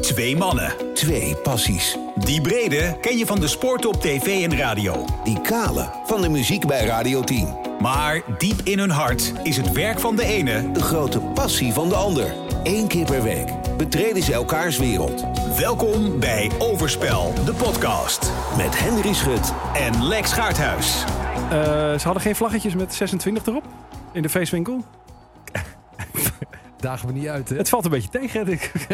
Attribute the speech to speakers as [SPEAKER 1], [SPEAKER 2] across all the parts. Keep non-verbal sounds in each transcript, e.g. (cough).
[SPEAKER 1] Twee mannen.
[SPEAKER 2] Twee passies.
[SPEAKER 1] Die brede ken je van de sport op tv en radio.
[SPEAKER 2] Die kale van de muziek bij Radio 10.
[SPEAKER 1] Maar diep in hun hart is het werk van de ene...
[SPEAKER 2] De grote passie van de ander. Eén keer per week betreden ze elkaars wereld.
[SPEAKER 1] Welkom bij Overspel, de podcast.
[SPEAKER 2] Met Henry Schut.
[SPEAKER 1] En Lex Gaarthuis.
[SPEAKER 3] Eh, ze hadden geen vlaggetjes met 26 erop in de feestwinkel.
[SPEAKER 4] Dagen we niet uit, hè?
[SPEAKER 3] Het valt een beetje tegen, denk ik.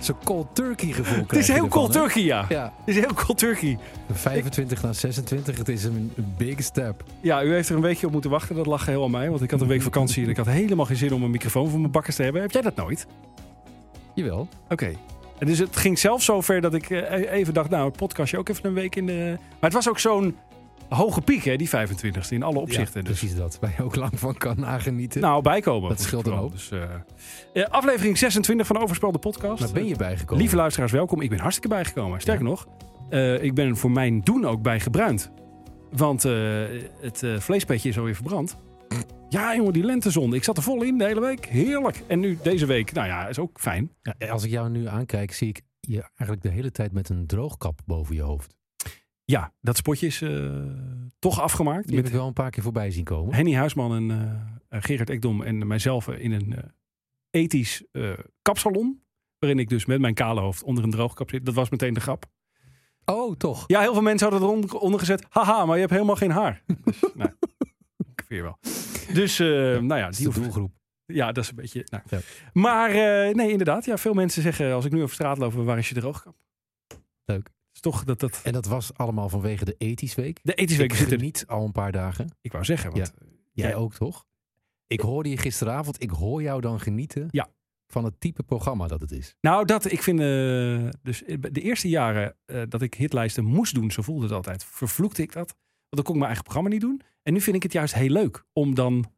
[SPEAKER 4] Zo'n cold turkey gevoel
[SPEAKER 3] Het is heel cold
[SPEAKER 4] turkey.
[SPEAKER 3] turkey, ja.
[SPEAKER 4] Ja,
[SPEAKER 3] Het is heel cold turkey.
[SPEAKER 4] van 25 naar 26, het is een big step.
[SPEAKER 3] Ja, u heeft er een weekje op moeten wachten. Dat lag heel aan mij, want ik had een week vakantie en ik had helemaal geen zin om een microfoon voor mijn bakkers te hebben. Heb jij dat nooit?
[SPEAKER 4] Jawel.
[SPEAKER 3] Oké. En dus het ging zelfs zover dat ik eh, even dacht, nou, het podcastje ook even een week in de... Maar het was ook zo'n hoge piek, hè, die 25e, in alle opzichten.
[SPEAKER 4] Ja,
[SPEAKER 3] dus.
[SPEAKER 4] Precies dat, waar je ook lang van kan nagenieten.
[SPEAKER 3] Nou, bijkomen.
[SPEAKER 4] Dat scheelt een hoop.
[SPEAKER 3] Dus, eh, eh, aflevering 26 van Overspel, de podcast.
[SPEAKER 4] Daar ben je bijgekomen.
[SPEAKER 3] Lieve luisteraars, welkom. Ik ben hartstikke bijgekomen. Sterker nog, eh, ik ben voor mijn doen ook bijgebruind. Want eh, het eh, vleespetje is alweer verbrand. Ja, jongen, die lentezon. Ik zat er vol in de hele week. Heerlijk. En nu deze week, nou ja, is ook fijn.
[SPEAKER 4] Ja, als ik jou nu aankijk, zie ik je eigenlijk de hele tijd met een droogkap boven je hoofd.
[SPEAKER 3] Ja, dat spotje is eh, toch afgemaakt.
[SPEAKER 4] Die heb
[SPEAKER 3] met
[SPEAKER 4] ik wel een paar keer voorbij zien komen.
[SPEAKER 3] Henny Huisman en eh, eh, Gerard Ekdom en mijzelf in een eh, ethisch eh, kapsalon. Waarin ik dus met mijn kale hoofd onder een droogkap zit. Dat was meteen de grap.
[SPEAKER 4] Oh, toch?
[SPEAKER 3] Ja, heel veel mensen hadden eronder onder gezet. Haha, maar je hebt helemaal geen haar. (laughs) Dus, nou, ik vind je wel. Dus, eh, nou ja, die
[SPEAKER 4] Dat is de
[SPEAKER 3] hoeft-
[SPEAKER 4] doelgroep.
[SPEAKER 3] ja, dat is een beetje. Nou.
[SPEAKER 4] Ja.
[SPEAKER 3] Maar eh, nee, inderdaad. Ja, veel mensen zeggen als ik nu over straat loop, waar is je droogkap?
[SPEAKER 4] Leuk.
[SPEAKER 3] Is toch dat dat.
[SPEAKER 4] En dat was allemaal vanwege de ethisch week.
[SPEAKER 3] De ethische week
[SPEAKER 4] ik
[SPEAKER 3] zit er niet.
[SPEAKER 4] niet al een paar dagen.
[SPEAKER 3] Ik wou zeggen, want
[SPEAKER 4] Jij
[SPEAKER 3] Ja.
[SPEAKER 4] ook, toch? Ik hoorde je gisteravond. Ik hoor jou dan genieten
[SPEAKER 3] Ja.
[SPEAKER 4] van het type programma dat het is.
[SPEAKER 3] Nou, dat ik vind. eh, dus de eerste jaren eh, dat ik hitlijsten moest doen, zo voelde het altijd. Vervloekte ik dat. Want dan kon ik mijn eigen programma niet doen. En nu vind ik het juist heel leuk om dan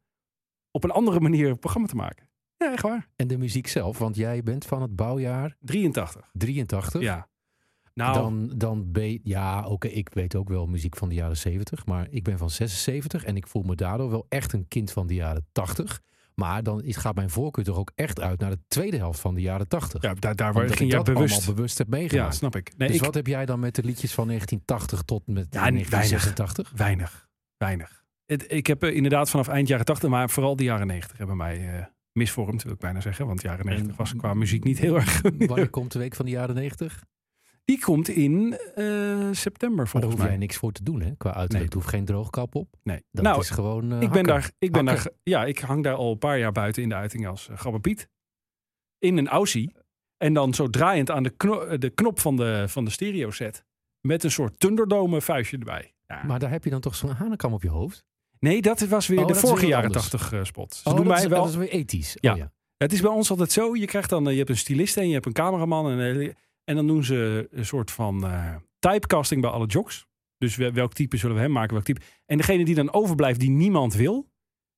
[SPEAKER 3] op een andere manier een programma te maken. Ja, echt waar.
[SPEAKER 4] En de muziek zelf, want jij bent van het bouwjaar
[SPEAKER 3] 83.
[SPEAKER 4] 83.
[SPEAKER 3] Ja. Nou,
[SPEAKER 4] Dan, dan ben je- ja, oké, ik weet ook wel muziek van de jaren 70, maar ik ben van 76 en ik voel me daardoor wel echt een kind van de jaren 80. Maar dan is, gaat mijn voorkeur toch ook echt uit naar de tweede helft van de jaren 80.
[SPEAKER 3] ja, daar, daar
[SPEAKER 4] Omdat ik
[SPEAKER 3] ging jij
[SPEAKER 4] dat
[SPEAKER 3] bewust.
[SPEAKER 4] allemaal bewust heb
[SPEAKER 3] ja,
[SPEAKER 4] meegemaakt.
[SPEAKER 3] snap ik. Nee,
[SPEAKER 4] dus
[SPEAKER 3] ik
[SPEAKER 4] wat heb jij dan met de liedjes van 1980 tot met
[SPEAKER 3] Ja, niet
[SPEAKER 4] 1986?
[SPEAKER 3] weinig. Weinig. Het, ik heb eh, inderdaad vanaf eind jaren 80, maar vooral de jaren 90 hebben mij eh, misvormd, wil ik bijna zeggen. Want jaren 90 was qua muziek niet heel erg.
[SPEAKER 4] (laughs) Wanneer komt de week van de jaren 90?
[SPEAKER 3] Die komt in eh, september
[SPEAKER 4] Maar daar
[SPEAKER 3] volgens
[SPEAKER 4] hoef
[SPEAKER 3] mij.
[SPEAKER 4] jij niks voor te doen, hè? Qua uiterlijk.
[SPEAKER 3] Nee.
[SPEAKER 4] Er hoeft geen droogkap op.
[SPEAKER 3] Nee.
[SPEAKER 4] Dat
[SPEAKER 3] nou,
[SPEAKER 4] is gewoon. eh,
[SPEAKER 3] ik ben,
[SPEAKER 4] hakken.
[SPEAKER 3] daar, ik ben daar,
[SPEAKER 4] Hakken.
[SPEAKER 3] ja, ik hang daar al een paar jaar buiten in de uiting als uh, Piet. In een Aussie. En dan zo draaiend aan de, kno- eh, de knop van de, van de stereo set. Met een soort Thunderdome vuistje erbij. Ja.
[SPEAKER 4] Maar daar heb je dan toch zo'n hanenkam op je hoofd?
[SPEAKER 3] nee, dat was weer
[SPEAKER 4] Oh,
[SPEAKER 3] de
[SPEAKER 4] dat is
[SPEAKER 3] vorige
[SPEAKER 4] weer wat
[SPEAKER 3] jaren
[SPEAKER 4] anders.
[SPEAKER 3] tachtig eh, spot. Ze
[SPEAKER 4] Oh,
[SPEAKER 3] doen
[SPEAKER 4] dat,
[SPEAKER 3] mij
[SPEAKER 4] is,
[SPEAKER 3] wel,
[SPEAKER 4] dat is weer ethisch.
[SPEAKER 3] Ja.
[SPEAKER 4] Oh, ja.
[SPEAKER 3] Het is bij ons altijd zo. Je krijgt dan, eh, je hebt een stylist en je hebt een cameraman. En, eh, en dan doen ze een soort van eh, typecasting bij alle jocks. Dus we- welk type zullen we hem maken, welk type. En degene die dan overblijft, die niemand wil,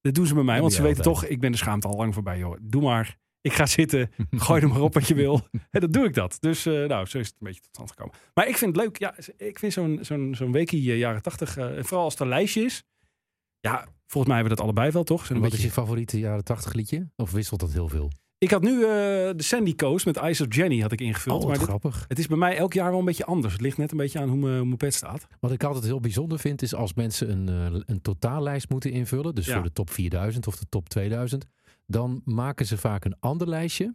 [SPEAKER 3] dat doen ze bij mij.
[SPEAKER 4] Dat
[SPEAKER 3] Want
[SPEAKER 4] doe
[SPEAKER 3] ze
[SPEAKER 4] jij
[SPEAKER 3] weten toch,
[SPEAKER 4] altijd.
[SPEAKER 3] ik ben de schaamte al lang voorbij, joh. Doe maar. Ik ga zitten. Gooi er maar op wat je wil. En dan doe ik dat. Dus eh, nou, zo is het een beetje tot stand gekomen. Maar ik vind het leuk. Ja, ik vind zo'n zo'n zo'n weekie eh, jaren tachtig, vooral als het een lijstje is. Ja, volgens mij hebben we dat allebei wel, toch? Zo'n
[SPEAKER 4] En wat
[SPEAKER 3] beetje-
[SPEAKER 4] is je favoriete jaren 80 liedje? Of wisselt dat heel veel?
[SPEAKER 3] ik had nu eh, de Sandy Coast met Eyes of Jenny had ik ingevuld.
[SPEAKER 4] Oh,
[SPEAKER 3] maar
[SPEAKER 4] wat
[SPEAKER 3] dit-
[SPEAKER 4] grappig.
[SPEAKER 3] het is bij mij elk jaar wel een beetje anders. Het ligt net een beetje aan hoe mijn, hoe mijn pet staat.
[SPEAKER 4] Wat ik altijd heel bijzonder vind, is als mensen een, eh, een totaallijst moeten invullen. Dus
[SPEAKER 3] Ja.
[SPEAKER 4] voor de top 4000 of de top 2000. Dan maken ze vaak een ander lijstje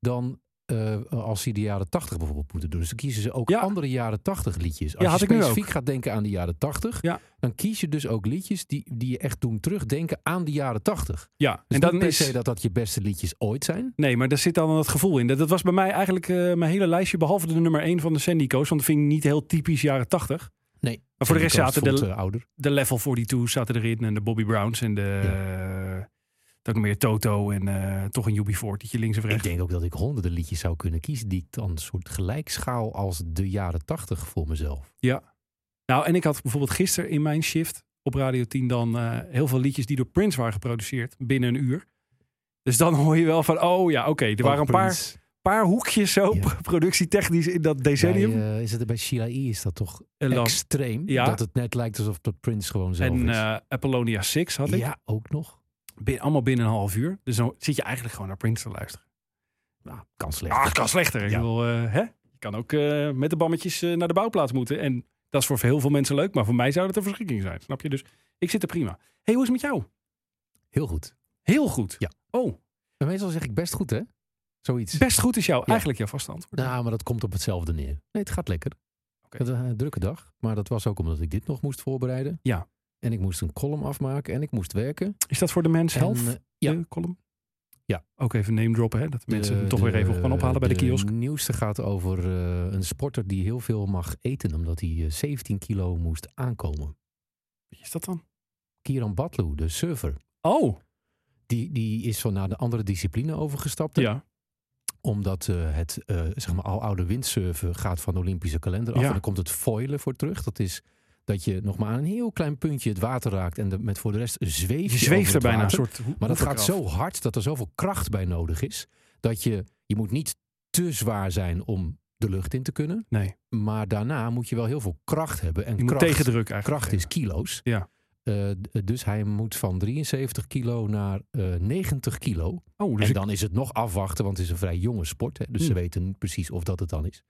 [SPEAKER 4] dan eh, als ze de jaren 80 bijvoorbeeld moeten doen. Dus dan kiezen ze ook
[SPEAKER 3] Ja.
[SPEAKER 4] andere jaren 80 liedjes. Als
[SPEAKER 3] Ja, had
[SPEAKER 4] je
[SPEAKER 3] ik nu ook.
[SPEAKER 4] specifiek gaat denken aan de jaren 80,
[SPEAKER 3] Ja.
[SPEAKER 4] dan kies je dus ook liedjes die, die je echt doen terugdenken aan de jaren 80.
[SPEAKER 3] Ja,
[SPEAKER 4] Dus
[SPEAKER 3] en
[SPEAKER 4] niet
[SPEAKER 3] dan
[SPEAKER 4] per
[SPEAKER 3] is...
[SPEAKER 4] se dat dat je beste liedjes ooit zijn.
[SPEAKER 3] Nee, maar daar zit dan dat gevoel in. Dat, dat was bij mij eigenlijk eh, mijn hele lijstje, behalve de nummer 1 van de Sandy Coast. Want dat vind ik niet heel typisch jaren 80.
[SPEAKER 4] Nee.
[SPEAKER 3] Maar voor de rest
[SPEAKER 4] Coast
[SPEAKER 3] zaten de-
[SPEAKER 4] voelt, eh, ouder.
[SPEAKER 3] De Level 42 zaten erin en de Bobby Browns en de... eh, dat nog meer Toto en eh, toch een UB40 links of
[SPEAKER 4] Ik
[SPEAKER 3] rechts.
[SPEAKER 4] denk ook dat ik honderden liedjes zou kunnen kiezen die ik dan soort gelijk schaal als de jaren tachtig voor mezelf.
[SPEAKER 3] Nou, en ik had bijvoorbeeld gisteren in mijn shift op Radio 10 dan eh, heel veel liedjes die door Prince waren geproduceerd binnen een uur. Dus dan (laughs) hoor je wel van, oh ja, oké, er waren een paar, paar hoekjes zo
[SPEAKER 4] Ja.
[SPEAKER 3] (laughs) productietechnisch in dat decennium.
[SPEAKER 4] Bij, eh, is het bij Sheila E. is dat toch
[SPEAKER 3] En dan-
[SPEAKER 4] extreem?
[SPEAKER 3] Ja.
[SPEAKER 4] Dat het net lijkt alsof dat Prince gewoon zelf
[SPEAKER 3] en
[SPEAKER 4] is.
[SPEAKER 3] eh, Apollonia 6 had ik.
[SPEAKER 4] ja, ook nog.
[SPEAKER 3] Bin- allemaal binnen een half uur. Dus dan zit je eigenlijk gewoon naar Prince te luisteren.
[SPEAKER 4] Nou, kan slecht.
[SPEAKER 3] Ah, kan slechter. Ik
[SPEAKER 4] Ja.
[SPEAKER 3] bedoel, eh, hè? Je kan ook eh, met de bammetjes eh, naar de bouwplaats moeten. En dat is voor heel veel mensen leuk, maar voor mij zou dat een verschrikking zijn. Snap je? Dus ik zit er prima. hey, hoe is het met jou?
[SPEAKER 4] Heel goed.
[SPEAKER 3] Heel goed.
[SPEAKER 4] Ja.
[SPEAKER 3] Oh,
[SPEAKER 4] En meestal zeg ik best goed, hè? Zoiets.
[SPEAKER 3] best goed is jou. Eigenlijk jouw vaste antwoord.
[SPEAKER 4] Nou, maar dat komt op hetzelfde neer. Nee, het gaat lekker.
[SPEAKER 3] Oké.
[SPEAKER 4] Het was een drukke dag, maar dat was ook omdat ik dit nog moest voorbereiden.
[SPEAKER 3] Ja.
[SPEAKER 4] En ik moest een column afmaken en ik moest werken.
[SPEAKER 3] Is dat voor de mens
[SPEAKER 4] En,
[SPEAKER 3] health?
[SPEAKER 4] eh, ja.
[SPEAKER 3] De column?
[SPEAKER 4] Ja.
[SPEAKER 3] Ook even name droppen, hè? Dat de mensen
[SPEAKER 4] De-
[SPEAKER 3] hem toch weer even op gaan ophalen bij de, kiosk.
[SPEAKER 4] Het nieuwste gaat over eh, een sporter die heel veel mag eten omdat hij eh, 17 kilo moest aankomen.
[SPEAKER 3] Wie is dat dan?
[SPEAKER 4] Kiran Batlu, de surfer,
[SPEAKER 3] Oh,
[SPEAKER 4] die, die is van naar de andere discipline overgestapt. hè?
[SPEAKER 3] ja.
[SPEAKER 4] Omdat eh, het eh, zeg maar, al oude windsurfen gaat van de Olympische kalender af.
[SPEAKER 3] Ja.
[SPEAKER 4] En dan komt het foilen voor terug. Dat is dat je nog maar een heel klein puntje het water raakt. En de- met voor de rest zweeft
[SPEAKER 3] Je
[SPEAKER 4] over
[SPEAKER 3] zweeft er
[SPEAKER 4] het
[SPEAKER 3] bijna een
[SPEAKER 4] water.
[SPEAKER 3] soort. ho-
[SPEAKER 4] Maar dat gaat
[SPEAKER 3] hoeverkraf.
[SPEAKER 4] zo hard dat er zoveel kracht bij nodig is. Dat je, je moet niet te zwaar zijn om de lucht in te kunnen.
[SPEAKER 3] Nee,
[SPEAKER 4] Maar daarna moet je wel heel veel kracht hebben. En
[SPEAKER 3] je moet
[SPEAKER 4] kracht,
[SPEAKER 3] tegendruk eigenlijk.
[SPEAKER 4] kracht is kilo's.
[SPEAKER 3] Ja.
[SPEAKER 4] Eh, d- dus hij moet van 73 kilo naar eh 90 kilo
[SPEAKER 3] Oh, dus
[SPEAKER 4] en
[SPEAKER 3] ik-
[SPEAKER 4] dan is het nog afwachten, want het is een vrij jonge sport. Hè, dus ze
[SPEAKER 3] Hmm.
[SPEAKER 4] weten niet precies of dat het dan is.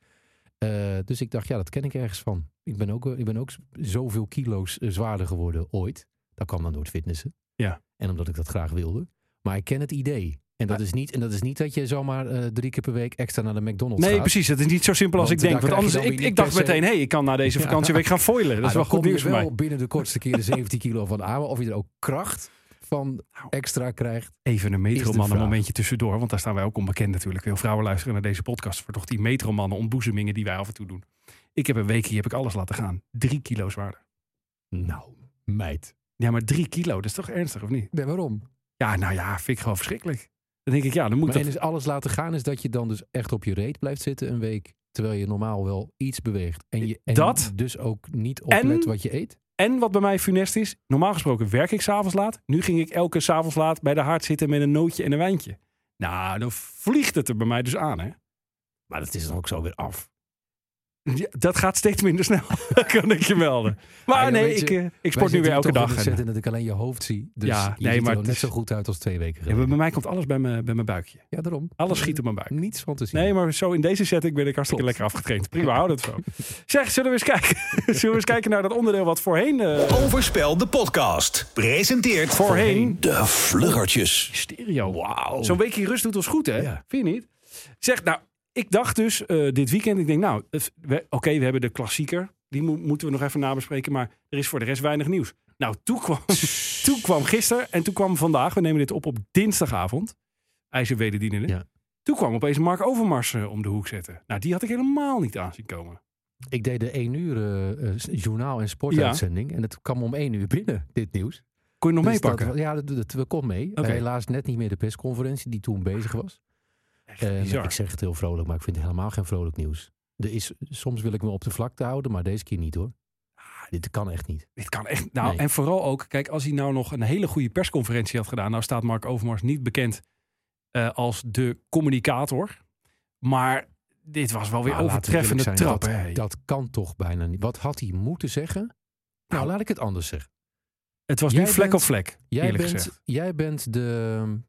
[SPEAKER 4] Eh, dus ik dacht, ja, dat ken ik ergens van. Ik ben ook, eh, ik ben ook z- zoveel kilo's eh, zwaarder geworden ooit. Dat kwam dan door het fitnessen.
[SPEAKER 3] Ja.
[SPEAKER 4] En omdat ik dat graag wilde. Maar ik ken het idee. En dat, is, niet, en dat is niet dat je zomaar eh, drie keer per week extra naar de McDonald's
[SPEAKER 3] Nee,
[SPEAKER 4] gaat.
[SPEAKER 3] precies. Het is niet zo simpel als
[SPEAKER 4] Want
[SPEAKER 3] ik denk.
[SPEAKER 4] daar
[SPEAKER 3] Want anders,
[SPEAKER 4] krijg je dan
[SPEAKER 3] ik,
[SPEAKER 4] weer
[SPEAKER 3] ik
[SPEAKER 4] niet
[SPEAKER 3] dacht
[SPEAKER 4] per se-
[SPEAKER 3] meteen, hé, hey, ik kan na deze
[SPEAKER 4] Ja.
[SPEAKER 3] vakantieweek gaan foilen. Dat is
[SPEAKER 4] Ah, dan
[SPEAKER 3] wel goed
[SPEAKER 4] kom je
[SPEAKER 3] nieuws voor mij.
[SPEAKER 4] wel binnen de kortste keer de 17 kilo van aan. Maar of je er ook kracht van
[SPEAKER 3] Nou.
[SPEAKER 4] extra krijgt.
[SPEAKER 3] Even een
[SPEAKER 4] Is de
[SPEAKER 3] metroman een
[SPEAKER 4] vraag.
[SPEAKER 3] momentje tussendoor. Want daar staan wij ook onbekend natuurlijk. Veel vrouwen luisteren naar deze podcast. Voor toch die metromannen ontboezemingen die wij af en toe doen. Ik heb een weekje, heb ik alles laten gaan. Drie kilo zwaarder.
[SPEAKER 4] Nou, meid.
[SPEAKER 3] Ja, maar drie kilo, dat is toch ernstig of niet?
[SPEAKER 4] Nee, waarom?
[SPEAKER 3] Ja, nou ja, vind ik gewoon verschrikkelijk. Dan denk ik, ja, dan moet
[SPEAKER 4] Maar
[SPEAKER 3] dat...
[SPEAKER 4] en dus alles laten gaan is dat je dan dus echt op je reet blijft zitten een week. Terwijl je normaal wel iets beweegt. En, je, en
[SPEAKER 3] Dat.
[SPEAKER 4] dus ook niet
[SPEAKER 3] En-
[SPEAKER 4] oplet wat je eet.
[SPEAKER 3] En wat bij mij funest is, normaal gesproken werk ik s'avonds laat. Nu ging ik elke s'avonds laat bij de haard zitten met een nootje en een wijntje. Nou, dan vliegt het er bij mij dus aan, hè?
[SPEAKER 4] Maar dat is dan ook zo weer af.
[SPEAKER 3] Ja, dat gaat steeds minder snel, (laughs) kan ik je melden. Maar
[SPEAKER 4] Ah, ja,
[SPEAKER 3] nee,
[SPEAKER 4] weet je,
[SPEAKER 3] ik, eh, ik sport nu weer elke dag.
[SPEAKER 4] Ik
[SPEAKER 3] en,
[SPEAKER 4] zit in dat ik alleen je hoofd zie. Dus
[SPEAKER 3] Ja,
[SPEAKER 4] je
[SPEAKER 3] nee,
[SPEAKER 4] ziet
[SPEAKER 3] maar het
[SPEAKER 4] er nog net
[SPEAKER 3] is-
[SPEAKER 4] zo goed uit als twee weken
[SPEAKER 3] eh, Ja, maar
[SPEAKER 4] geleden.
[SPEAKER 3] bij mij komt alles bij mijn, bij mijn buikje.
[SPEAKER 4] Ja, daarom.
[SPEAKER 3] Alles schiet op mijn buik.
[SPEAKER 4] Niets van te zien.
[SPEAKER 3] Nee, maar zo in deze setting ben ik hartstikke
[SPEAKER 4] Klopt.
[SPEAKER 3] lekker afgetraind. Prima, hou dat zo. Zeg, zullen we eens kijken, (laughs) zullen we eens kijken naar dat onderdeel wat voorheen... eh,
[SPEAKER 1] Overspel de podcast. Presenteert
[SPEAKER 3] voorheen
[SPEAKER 2] De Vluggertjes.
[SPEAKER 3] stereo. Wauw. Zo'n weekje rust doet ons goed, hè?
[SPEAKER 4] Ja.
[SPEAKER 3] Vind je niet? Zeg, nou, ik dacht dus eh, dit weekend, ik denk, nou, het- we- oké, we hebben de klassieker. Die mo- moeten we nog even nabespreken, maar er is voor de rest weinig nieuws. Nou, toen kwam, toen kwam gisteren en toen kwam vandaag, we nemen dit op op dinsdagavond, ijzerwederdienende.
[SPEAKER 4] Ja.
[SPEAKER 3] Toen kwam opeens Mark Overmars eh, om de hoek zetten. Nou, die had ik helemaal niet aanzien komen.
[SPEAKER 4] Ik deed de 1 uur eh, eh, journaal- en sportuitzending. En het kwam om 1 uur binnen, dit nieuws.
[SPEAKER 3] Kon je nog
[SPEAKER 4] Dus
[SPEAKER 3] meepakken?
[SPEAKER 4] dat- ja, dat, dat, dat kon mee.
[SPEAKER 3] Oké.
[SPEAKER 4] Helaas net niet meer de persconferentie die toen bezig was.
[SPEAKER 3] Echt
[SPEAKER 4] En
[SPEAKER 3] bizar.
[SPEAKER 4] Eh, nou, ik zeg het heel vrolijk, maar ik vind het helemaal geen vrolijk nieuws. Er is, soms wil ik me op de vlakte houden, maar deze keer niet hoor. Ah, dit kan echt niet.
[SPEAKER 3] Dit kan echt. Nou,
[SPEAKER 4] Nee.
[SPEAKER 3] en vooral ook, kijk, als hij nou nog een hele goede persconferentie had gedaan. Nou staat Mark Overmars niet bekend eh, als de communicator. Maar dit was wel weer
[SPEAKER 4] Nou, laten we
[SPEAKER 3] overtreffende
[SPEAKER 4] eerlijk zijn,
[SPEAKER 3] trap. hè.
[SPEAKER 4] Dat, dat kan toch bijna niet. Wat had hij moeten zeggen? Nou,
[SPEAKER 3] Nou,
[SPEAKER 4] laat ik het anders zeggen.
[SPEAKER 3] het was
[SPEAKER 4] jij
[SPEAKER 3] nu vlek
[SPEAKER 4] bent-
[SPEAKER 3] op vlek,
[SPEAKER 4] Jij
[SPEAKER 3] eerlijk gezegd.
[SPEAKER 4] bent, jij bent de.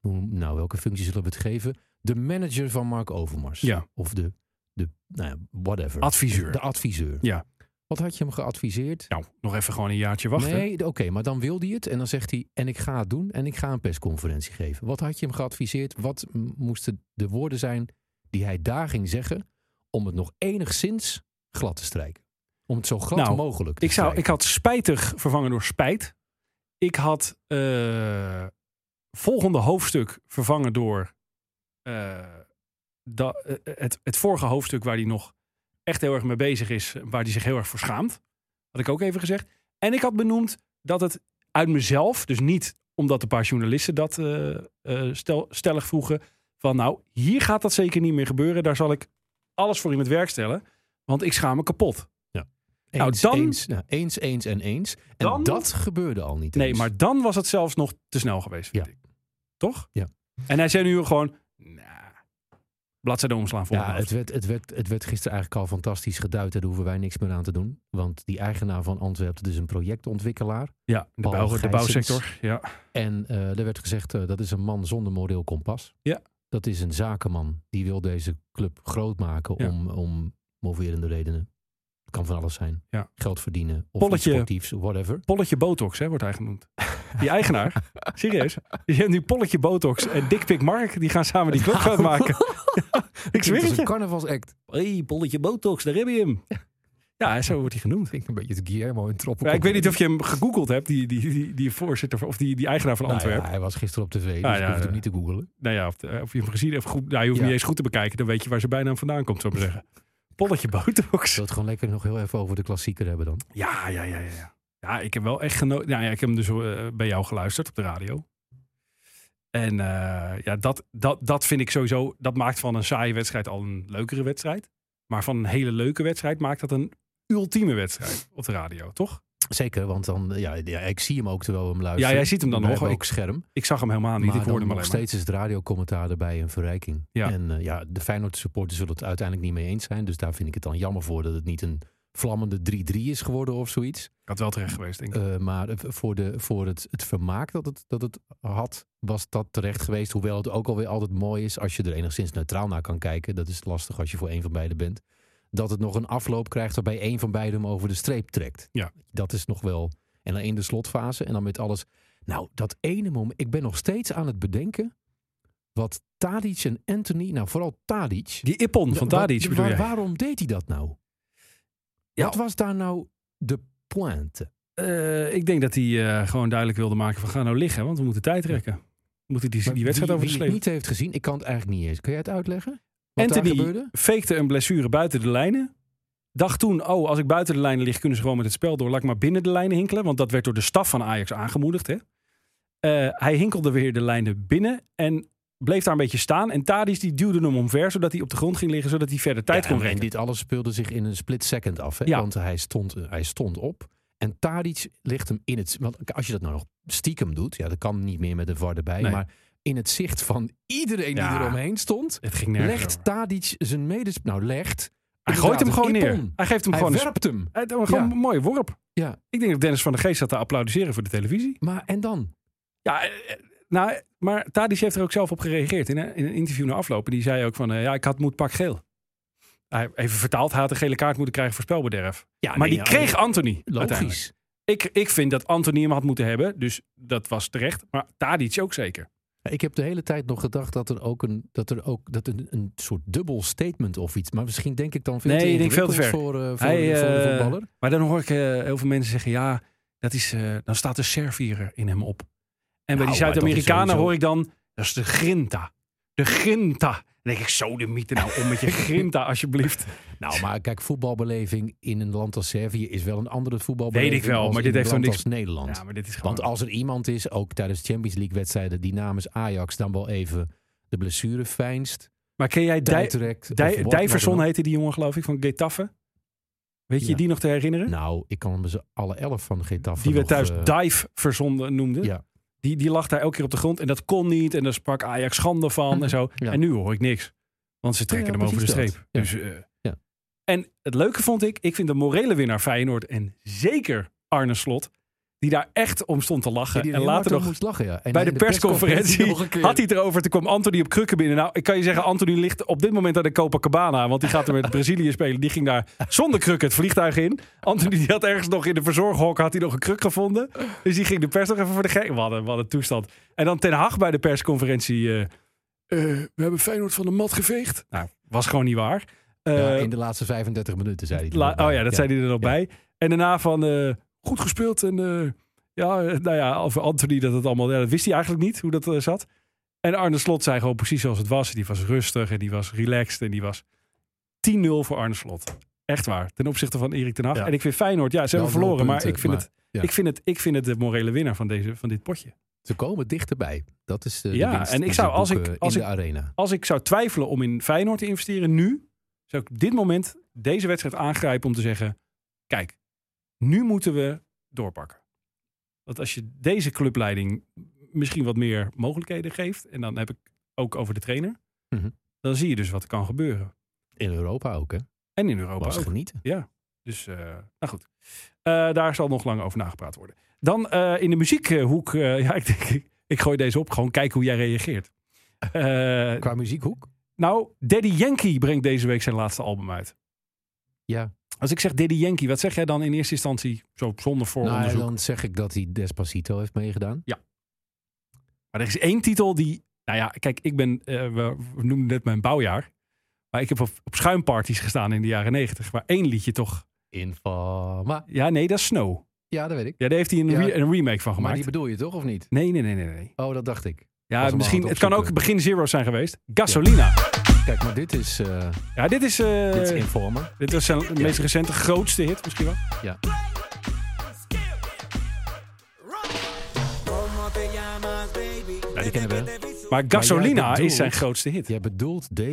[SPEAKER 4] hoe- Nou, welke functie zullen we het geven? De manager van Mark Overmars.
[SPEAKER 3] Ja.
[SPEAKER 4] Of de. de nou ja, whatever.
[SPEAKER 3] Adviseur.
[SPEAKER 4] De adviseur.
[SPEAKER 3] Ja.
[SPEAKER 4] Wat had je hem geadviseerd?
[SPEAKER 3] Nou, nog even gewoon een jaartje wachten.
[SPEAKER 4] Nee, d- oké, maar dan wil hij het en dan zegt hij: En ik ga het doen en ik ga een persconferentie geven. Wat had je hem geadviseerd? Wat m- moesten de woorden zijn die hij daar ging zeggen om het nog enigszins glad te strijken? Om het zo glad
[SPEAKER 3] Nou,
[SPEAKER 4] mogelijk te
[SPEAKER 3] Ik, zou, ik
[SPEAKER 4] strijken.
[SPEAKER 3] had spijtig vervangen door spijt. Ik had eh, volgende hoofdstuk vervangen door eh, da- eh, het, het vorige hoofdstuk waar hij nog echt heel erg mee bezig is. Waar hij zich heel erg voor schaamt. Had ik ook even gezegd. En ik had benoemd dat het uit mezelf, dus niet omdat een paar journalisten dat eh, eh, stel, stellig vroegen. Van nou, hier gaat dat zeker niet meer gebeuren. Daar zal ik alles voor in het werk stellen. Want ik schaam me kapot. nou,
[SPEAKER 4] eens,
[SPEAKER 3] dan-
[SPEAKER 4] eens, nou, eens, eens en eens. En
[SPEAKER 3] Dan-
[SPEAKER 4] dat gebeurde al niet.
[SPEAKER 3] Nee,
[SPEAKER 4] eens.
[SPEAKER 3] maar dan was het zelfs nog te snel geweest, vind
[SPEAKER 4] Ja.
[SPEAKER 3] ik. Toch?
[SPEAKER 4] Ja.
[SPEAKER 3] En hij zei nu gewoon, nah, bladzijde omslaan voor
[SPEAKER 4] Ja, het werd, het, werd, het werd gisteren eigenlijk al fantastisch geduid. Daar hoeven wij niks meer aan te doen. Want die eigenaar van Antwerpen, dat is een projectontwikkelaar.
[SPEAKER 3] ja de,
[SPEAKER 4] Paul
[SPEAKER 3] bouw, de
[SPEAKER 4] Gijsens.
[SPEAKER 3] bouwsector. Ja.
[SPEAKER 4] En eh, er werd gezegd, eh, dat is een man zonder moreel kompas.
[SPEAKER 3] Ja.
[SPEAKER 4] Dat is een zakenman. Die wil deze club groot maken
[SPEAKER 3] Ja.
[SPEAKER 4] om, om moverende redenen. Het kan van alles zijn.
[SPEAKER 3] Ja.
[SPEAKER 4] Geld verdienen of
[SPEAKER 3] Polletje.
[SPEAKER 4] iets sportiefs, whatever.
[SPEAKER 3] Polletje Botox, hè, wordt hij genoemd. Die
[SPEAKER 4] (laughs)
[SPEAKER 3] eigenaar. Serieus. Die heeft nu Polletje Botox en Dickpick Mark. Die gaan samen die club groot
[SPEAKER 4] (laughs)
[SPEAKER 3] maken. ik
[SPEAKER 4] Klinkt
[SPEAKER 3] zweer
[SPEAKER 4] als
[SPEAKER 3] het
[SPEAKER 4] een
[SPEAKER 3] je.
[SPEAKER 4] carnavalsact.
[SPEAKER 3] hey, Polletje Botox, daar heb je hem. Ja, zo wordt hij genoemd.
[SPEAKER 4] Klinkt een beetje het Guillermo in troppen.
[SPEAKER 3] Ja, ik weet niet of je hem gegoogeld hebt, die, die, die, die voorzitter van- of die, die eigenaar van
[SPEAKER 4] Nou ja,
[SPEAKER 3] Antwerpen.
[SPEAKER 4] hij was gisteren op tv, dus
[SPEAKER 3] ja,
[SPEAKER 4] ik hoef
[SPEAKER 3] ja.
[SPEAKER 4] hem niet te googlen.
[SPEAKER 3] Nou ja, of, eh, of je hem gezien hebt. Goed, nou, je hoeft
[SPEAKER 4] Ja.
[SPEAKER 3] niet eens goed te bekijken. Dan weet je waar zijn bijnaam vandaan komt, zou ik maar zeggen. Polletje
[SPEAKER 4] Ik (laughs)
[SPEAKER 3] Botox.
[SPEAKER 4] wil het gewoon lekker nog heel even over de klassieker hebben dan.
[SPEAKER 3] Ja, ja, ja, ja, ja. Ja, ik heb wel echt genoten. Nou ja, ik heb hem dus eh, bij jou geluisterd op de radio. En eh, ja, dat, dat, dat vind ik sowieso. Dat maakt van een saaie wedstrijd al een leukere wedstrijd. Maar van een hele leuke wedstrijd maakt dat een ultieme wedstrijd op de radio, toch?
[SPEAKER 4] Zeker, want dan, ja, ja, ik zie hem ook terwijl we hem luisteren.
[SPEAKER 3] Ja, jij ziet hem dan
[SPEAKER 4] We
[SPEAKER 3] nog,
[SPEAKER 4] hebben
[SPEAKER 3] ik-
[SPEAKER 4] ook scherm.
[SPEAKER 3] Ik zag hem helemaal niet.
[SPEAKER 4] maar
[SPEAKER 3] ik hoorde
[SPEAKER 4] dan
[SPEAKER 3] hem
[SPEAKER 4] nog
[SPEAKER 3] alleen maar.
[SPEAKER 4] steeds is het radiocommentaar erbij een verrijking.
[SPEAKER 3] Ja.
[SPEAKER 4] En eh, ja, de Feyenoord supporters zullen het uiteindelijk niet mee eens zijn. Dus daar vind ik het dan jammer voor dat het niet een vlammende 3-3 is geworden of zoiets.
[SPEAKER 3] Ik had wel terecht geweest, denk ik.
[SPEAKER 4] Eh, maar eh, voor, de, voor het, het vermaak dat het, dat het had, was dat terecht geweest. Hoewel het ook alweer altijd mooi is als je er enigszins neutraal naar kan kijken. Dat is lastig als je voor één van beiden bent. Dat het nog een afloop krijgt waarbij één van beiden hem over de streep trekt.
[SPEAKER 3] Ja.
[SPEAKER 4] Dat is nog wel. En dan in de slotfase en dan met alles. Nou, dat ene moment. Ik ben nog steeds aan het bedenken wat Tadic en Anthony, nou vooral Tadic.
[SPEAKER 3] die Ippon van
[SPEAKER 4] Wa-
[SPEAKER 3] Tadic
[SPEAKER 4] wa-
[SPEAKER 3] bedoel je?
[SPEAKER 4] Waarom deed hij dat nou?
[SPEAKER 3] Ja.
[SPEAKER 4] Wat was daar nou de pointe?
[SPEAKER 3] Eh, ik denk dat hij eh, gewoon duidelijk wilde maken van ga nou liggen, want we moeten tijd rekken. We moeten die, die
[SPEAKER 4] Maar
[SPEAKER 3] wedstrijd
[SPEAKER 4] wie-
[SPEAKER 3] over de
[SPEAKER 4] wie
[SPEAKER 3] sleep.
[SPEAKER 4] het niet heeft gezien, ik kan het eigenlijk niet eens. Kun jij het uitleggen? Wat daar
[SPEAKER 3] Anthony
[SPEAKER 4] gebeurde?
[SPEAKER 3] fakte een blessure buiten de lijnen. Dacht toen, oh, als ik buiten de lijnen lig, kunnen ze gewoon met het spel door. Laat ik maar binnen de lijnen hinkelen. Want dat werd door de staf van Ajax aangemoedigd. Hè? Eh, hij hinkelde weer de lijnen binnen en bleef daar een beetje staan. En Tadis die duwde hem omver, zodat hij op de grond ging liggen, zodat hij verder tijd
[SPEAKER 4] Ja,
[SPEAKER 3] kon
[SPEAKER 4] en- en
[SPEAKER 3] rekken.
[SPEAKER 4] dit alles speelde zich in een split second af. Hè?
[SPEAKER 3] Ja.
[SPEAKER 4] Want hij stond, eh, hij stond op. En Tadic ligt hem in het... Want als je dat nou nog stiekem doet... Ja, dat kan niet meer met een VAR erbij.
[SPEAKER 3] Nee.
[SPEAKER 4] Maar in het zicht van iedereen
[SPEAKER 3] Ja.
[SPEAKER 4] die eromheen stond...
[SPEAKER 3] Het ging nergens
[SPEAKER 4] legt
[SPEAKER 3] over.
[SPEAKER 4] Tadic zijn medes... Nou, legt...
[SPEAKER 3] Hij gooit hem
[SPEAKER 4] inderdaad
[SPEAKER 3] gewoon
[SPEAKER 4] een
[SPEAKER 3] neer.
[SPEAKER 4] ippon.
[SPEAKER 3] Hij geeft hem
[SPEAKER 4] Hij
[SPEAKER 3] gewoon een,
[SPEAKER 4] werpt hem.
[SPEAKER 3] hij- Eh, gewoon
[SPEAKER 4] Ja.
[SPEAKER 3] een mooie worp.
[SPEAKER 4] Ja.
[SPEAKER 3] Ik denk dat Dennis van der Geest zat te applaudisseren voor de televisie.
[SPEAKER 4] Maar en dan?
[SPEAKER 3] Ja, eh, eh, nou, maar Tadic heeft er ook zelf op gereageerd in een, in een interview na afloop. En die zei ook van, eh, ja, ik had moet pak geel. Hij, even vertaald, hij had een gele kaart moeten krijgen voor spelbederf.
[SPEAKER 4] Ah, Ja,
[SPEAKER 3] maar die kreeg Anthony uiteindelijk.
[SPEAKER 4] Logisch.
[SPEAKER 3] Ik, ik vind dat Anthony hem had moeten hebben, dus dat was terecht. Maar Tadic ook zeker.
[SPEAKER 4] Ik heb de hele tijd nog gedacht dat er ook een, dat er ook, dat een, een soort dubbel statement of iets. Maar misschien denk ik dan veel
[SPEAKER 3] Nee,
[SPEAKER 4] te
[SPEAKER 3] ik denk veel te
[SPEAKER 4] ingewikkeld voor, eh, voor,
[SPEAKER 3] Hij,
[SPEAKER 4] de- voor de
[SPEAKER 3] eh,
[SPEAKER 4] voetballer.
[SPEAKER 3] Maar dan hoor ik eh, heel veel mensen zeggen, ja, dat is, eh, dan staat de Servier in hem op. En bij die
[SPEAKER 4] Nou, maar dat is
[SPEAKER 3] Zuid-Amerikanen
[SPEAKER 4] sowieso-
[SPEAKER 3] hoor ik dan, dat is de Grinta. De Grinta. Dan denk ik, zo de mythe nou om met
[SPEAKER 4] (laughs)
[SPEAKER 3] je Grinta alsjeblieft.
[SPEAKER 4] Nou, maar kijk, voetbalbeleving in een land als Servië is wel een andere voetbalbeleving.
[SPEAKER 3] Weet ik wel,
[SPEAKER 4] als
[SPEAKER 3] maar
[SPEAKER 4] in
[SPEAKER 3] dit heeft
[SPEAKER 4] een
[SPEAKER 3] toch
[SPEAKER 4] land
[SPEAKER 3] niks-
[SPEAKER 4] als Nederland.
[SPEAKER 3] Ja, maar dit is gewoon...
[SPEAKER 4] Want als er iemand is, ook tijdens Champions League wedstrijden, die namens Ajax dan wel even de blessure feinst,
[SPEAKER 3] Maar ken jij Dij-
[SPEAKER 4] tijdrekt.
[SPEAKER 3] Dij-
[SPEAKER 4] of wat-
[SPEAKER 3] Dijverson
[SPEAKER 4] wat dan
[SPEAKER 3] heette die jongen, geloof ik, van Getafe? Weet je
[SPEAKER 4] Ja.
[SPEAKER 3] die nog te herinneren?
[SPEAKER 4] ook. Nou, ik kan me ze alle elf van Getafe
[SPEAKER 3] die we
[SPEAKER 4] nog,
[SPEAKER 3] thuis
[SPEAKER 4] eh,
[SPEAKER 3] Dive verzonden noemden.
[SPEAKER 4] Ja.
[SPEAKER 3] Die, die lag daar elke keer op de grond en dat kon niet. En daar sprak Ajax schande van en zo.
[SPEAKER 4] (laughs) Ja.
[SPEAKER 3] En nu hoor ik niks. Want ze trekken
[SPEAKER 4] Ja,
[SPEAKER 3] hem over de
[SPEAKER 4] precies
[SPEAKER 3] streep.
[SPEAKER 4] dat.
[SPEAKER 3] Dus, eh,
[SPEAKER 4] Ja.
[SPEAKER 3] En het leuke vond ik, ik vind de morele winnaar Feyenoord en zeker Arne Slot, die daar echt om stond te lachen.
[SPEAKER 4] die er
[SPEAKER 3] en
[SPEAKER 4] heel hard
[SPEAKER 3] later
[SPEAKER 4] om
[SPEAKER 3] nog
[SPEAKER 4] moest lachen, ja. En
[SPEAKER 3] bij
[SPEAKER 4] in
[SPEAKER 3] de, persconferentie
[SPEAKER 4] (laughs) nog een keer.
[SPEAKER 3] had hij het erover. Toen kwam Anthony op krukken binnen. Nou, ik kan je zeggen, Anthony ligt op dit moment aan de Copacabana. Want die gaat er
[SPEAKER 4] (laughs)
[SPEAKER 3] met Brazilië spelen. Die ging daar zonder krukken het vliegtuig in. Anthony die had ergens nog in de verzorghok had hij nog een kruk gevonden. Dus die ging de pers nog even voor de gek. Wat een, wat een toestand. En dan Ten Hag bij de persconferentie. eh, eh, we hebben Feyenoord van de mat geveegd. Nou, was gewoon niet waar. Eh,
[SPEAKER 4] Ja, in de laatste 35 minuten, zei hij. er
[SPEAKER 3] La-
[SPEAKER 4] nog bij.
[SPEAKER 3] oh ja, dat zei hij er nog
[SPEAKER 4] Ja.
[SPEAKER 3] bij. En daarna van eh, goed gespeeld. En eh, ja, eh, nou ja, over Anthony dat het allemaal. Ja, dat wist hij eigenlijk niet hoe dat eh, zat. En Arne Slot zei gewoon precies zoals het was. Die was rustig en die was relaxed en die was 10-0 voor Arne Slot. Echt waar. Ten opzichte van Erik ten Hag.
[SPEAKER 4] Ja.
[SPEAKER 3] En ik vind Feyenoord, ja, ze
[SPEAKER 4] Wel
[SPEAKER 3] hebben verloren.
[SPEAKER 4] nul
[SPEAKER 3] maar ik
[SPEAKER 4] punten,
[SPEAKER 3] vind,
[SPEAKER 4] maar,
[SPEAKER 3] het,
[SPEAKER 4] ja.
[SPEAKER 3] ik, vind het, ik vind het de morele winnaar van, deze, van dit potje.
[SPEAKER 4] Ze komen dichterbij. Dat is eh, de
[SPEAKER 3] Ja,
[SPEAKER 4] winst
[SPEAKER 3] en ik
[SPEAKER 4] die
[SPEAKER 3] zou,
[SPEAKER 4] ze
[SPEAKER 3] als ik-
[SPEAKER 4] boeken
[SPEAKER 3] als
[SPEAKER 4] in
[SPEAKER 3] ik-
[SPEAKER 4] de arena.
[SPEAKER 3] Als ik zou twijfelen om in Feyenoord te investeren nu, zou ik dit moment deze wedstrijd aangrijpen om te zeggen: kijk, nu moeten we doorpakken. Want als je deze clubleiding misschien wat meer mogelijkheden geeft, en dan heb ik ook over de trainer,
[SPEAKER 4] Mhm.
[SPEAKER 3] dan zie je dus wat er kan gebeuren.
[SPEAKER 4] In Europa ook, hè?
[SPEAKER 3] En in Europa
[SPEAKER 4] Was
[SPEAKER 3] ook.
[SPEAKER 4] genieten.
[SPEAKER 3] Dus, eh, nou goed. Eh, daar zal nog lang over nagepraat worden. (laughs) Dan eh, in de muziekhoek. eh, ja, ik denk, ik, ik gooi deze op. Gewoon kijken hoe jij reageert. Eh,
[SPEAKER 4] Qua muziekhoek?
[SPEAKER 3] nou, Daddy Yankee brengt deze week zijn laatste album uit.
[SPEAKER 4] Ja.
[SPEAKER 3] Als ik zeg Daddy Yankee, wat zeg jij dan in eerste instantie? Zo zonder
[SPEAKER 4] Nou,
[SPEAKER 3] vooronderzoek.
[SPEAKER 4] dan zeg ik dat hij Despacito heeft meegedaan.
[SPEAKER 3] Maar er is één titel die... Nou ja, kijk, ik ben... eh, we, we noemden net mijn bouwjaar. Maar ik heb op, op schuimparties gestaan in de jaren negentig. Waar één liedje toch...
[SPEAKER 4] Infama.
[SPEAKER 3] Ja, nee, dat is Snow.
[SPEAKER 4] Ja, dat weet ik.
[SPEAKER 3] Ja, daar heeft hij een,
[SPEAKER 4] Ja.
[SPEAKER 3] re- een remake van
[SPEAKER 4] Maar
[SPEAKER 3] gemaakt.
[SPEAKER 4] die bedoel je toch, of niet?
[SPEAKER 3] Nee, nee, nee, nee. nee.
[SPEAKER 4] Oh, dat dacht ik.
[SPEAKER 3] Ja,
[SPEAKER 4] was hem
[SPEAKER 3] misschien,
[SPEAKER 4] aan
[SPEAKER 3] het
[SPEAKER 4] het
[SPEAKER 3] kan ook
[SPEAKER 4] opzoeken.
[SPEAKER 3] begin Zero's zijn geweest. Gasolina. Ja,
[SPEAKER 4] Kijk, maar dit is, eh
[SPEAKER 3] dit, is, eh,
[SPEAKER 4] dit is Informer.
[SPEAKER 3] dit was zijn meest recente, grootste hit misschien wel.
[SPEAKER 4] Ja.
[SPEAKER 5] Ja, die kennen we.
[SPEAKER 3] Maar Gasolina
[SPEAKER 4] bedoelt-
[SPEAKER 3] is zijn grootste hit. Ja,
[SPEAKER 4] Jij bedoelt deze.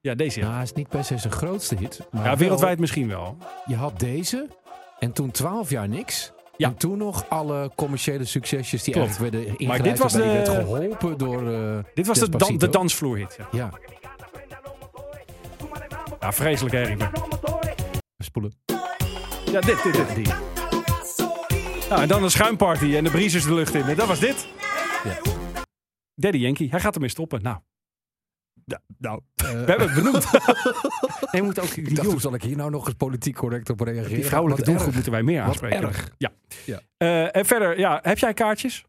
[SPEAKER 3] deze. Ja,
[SPEAKER 4] Nou, hij is niet per se zijn grootste hit. Maar
[SPEAKER 3] ja
[SPEAKER 4] Ah, wel-
[SPEAKER 3] wereldwijd misschien wel.
[SPEAKER 4] je had deze en toen 12 jaar niks.
[SPEAKER 3] Ja.
[SPEAKER 4] En toen nog alle commerciële succesjes die
[SPEAKER 3] Klopt.
[SPEAKER 4] eigenlijk werden
[SPEAKER 3] Maar
[SPEAKER 4] ingereikt.
[SPEAKER 3] dit was
[SPEAKER 4] waarbij je
[SPEAKER 3] de-
[SPEAKER 4] werd geholpen door eh,
[SPEAKER 3] Dit was de, dan,
[SPEAKER 4] Despacito.
[SPEAKER 3] de dansvloerhit. Ja.
[SPEAKER 4] Ja,
[SPEAKER 3] ja, vreselijk hè, Rick?
[SPEAKER 4] spoelen.
[SPEAKER 3] Ja, dit, dit, dit.
[SPEAKER 4] Die.
[SPEAKER 3] Nou, en dan een schuimparty en de bries is de lucht in. En dat was dit.
[SPEAKER 4] Ja.
[SPEAKER 3] Daddy Yankee, hij gaat ermee stoppen. Nou,
[SPEAKER 4] Nou,
[SPEAKER 3] (laughs) we hebben het benoemd. nee, moet ook
[SPEAKER 4] ik dacht, hoe zal ik hier nou nog eens politiek correct op reageren?
[SPEAKER 3] Die vrouwelijke
[SPEAKER 4] Wat
[SPEAKER 3] doelgroep
[SPEAKER 4] erg.
[SPEAKER 3] moeten wij meer
[SPEAKER 4] Wat
[SPEAKER 3] aanspreken.
[SPEAKER 4] erg.
[SPEAKER 3] Ja.
[SPEAKER 4] Ja.
[SPEAKER 3] Eh, en verder, ja, heb jij kaartjes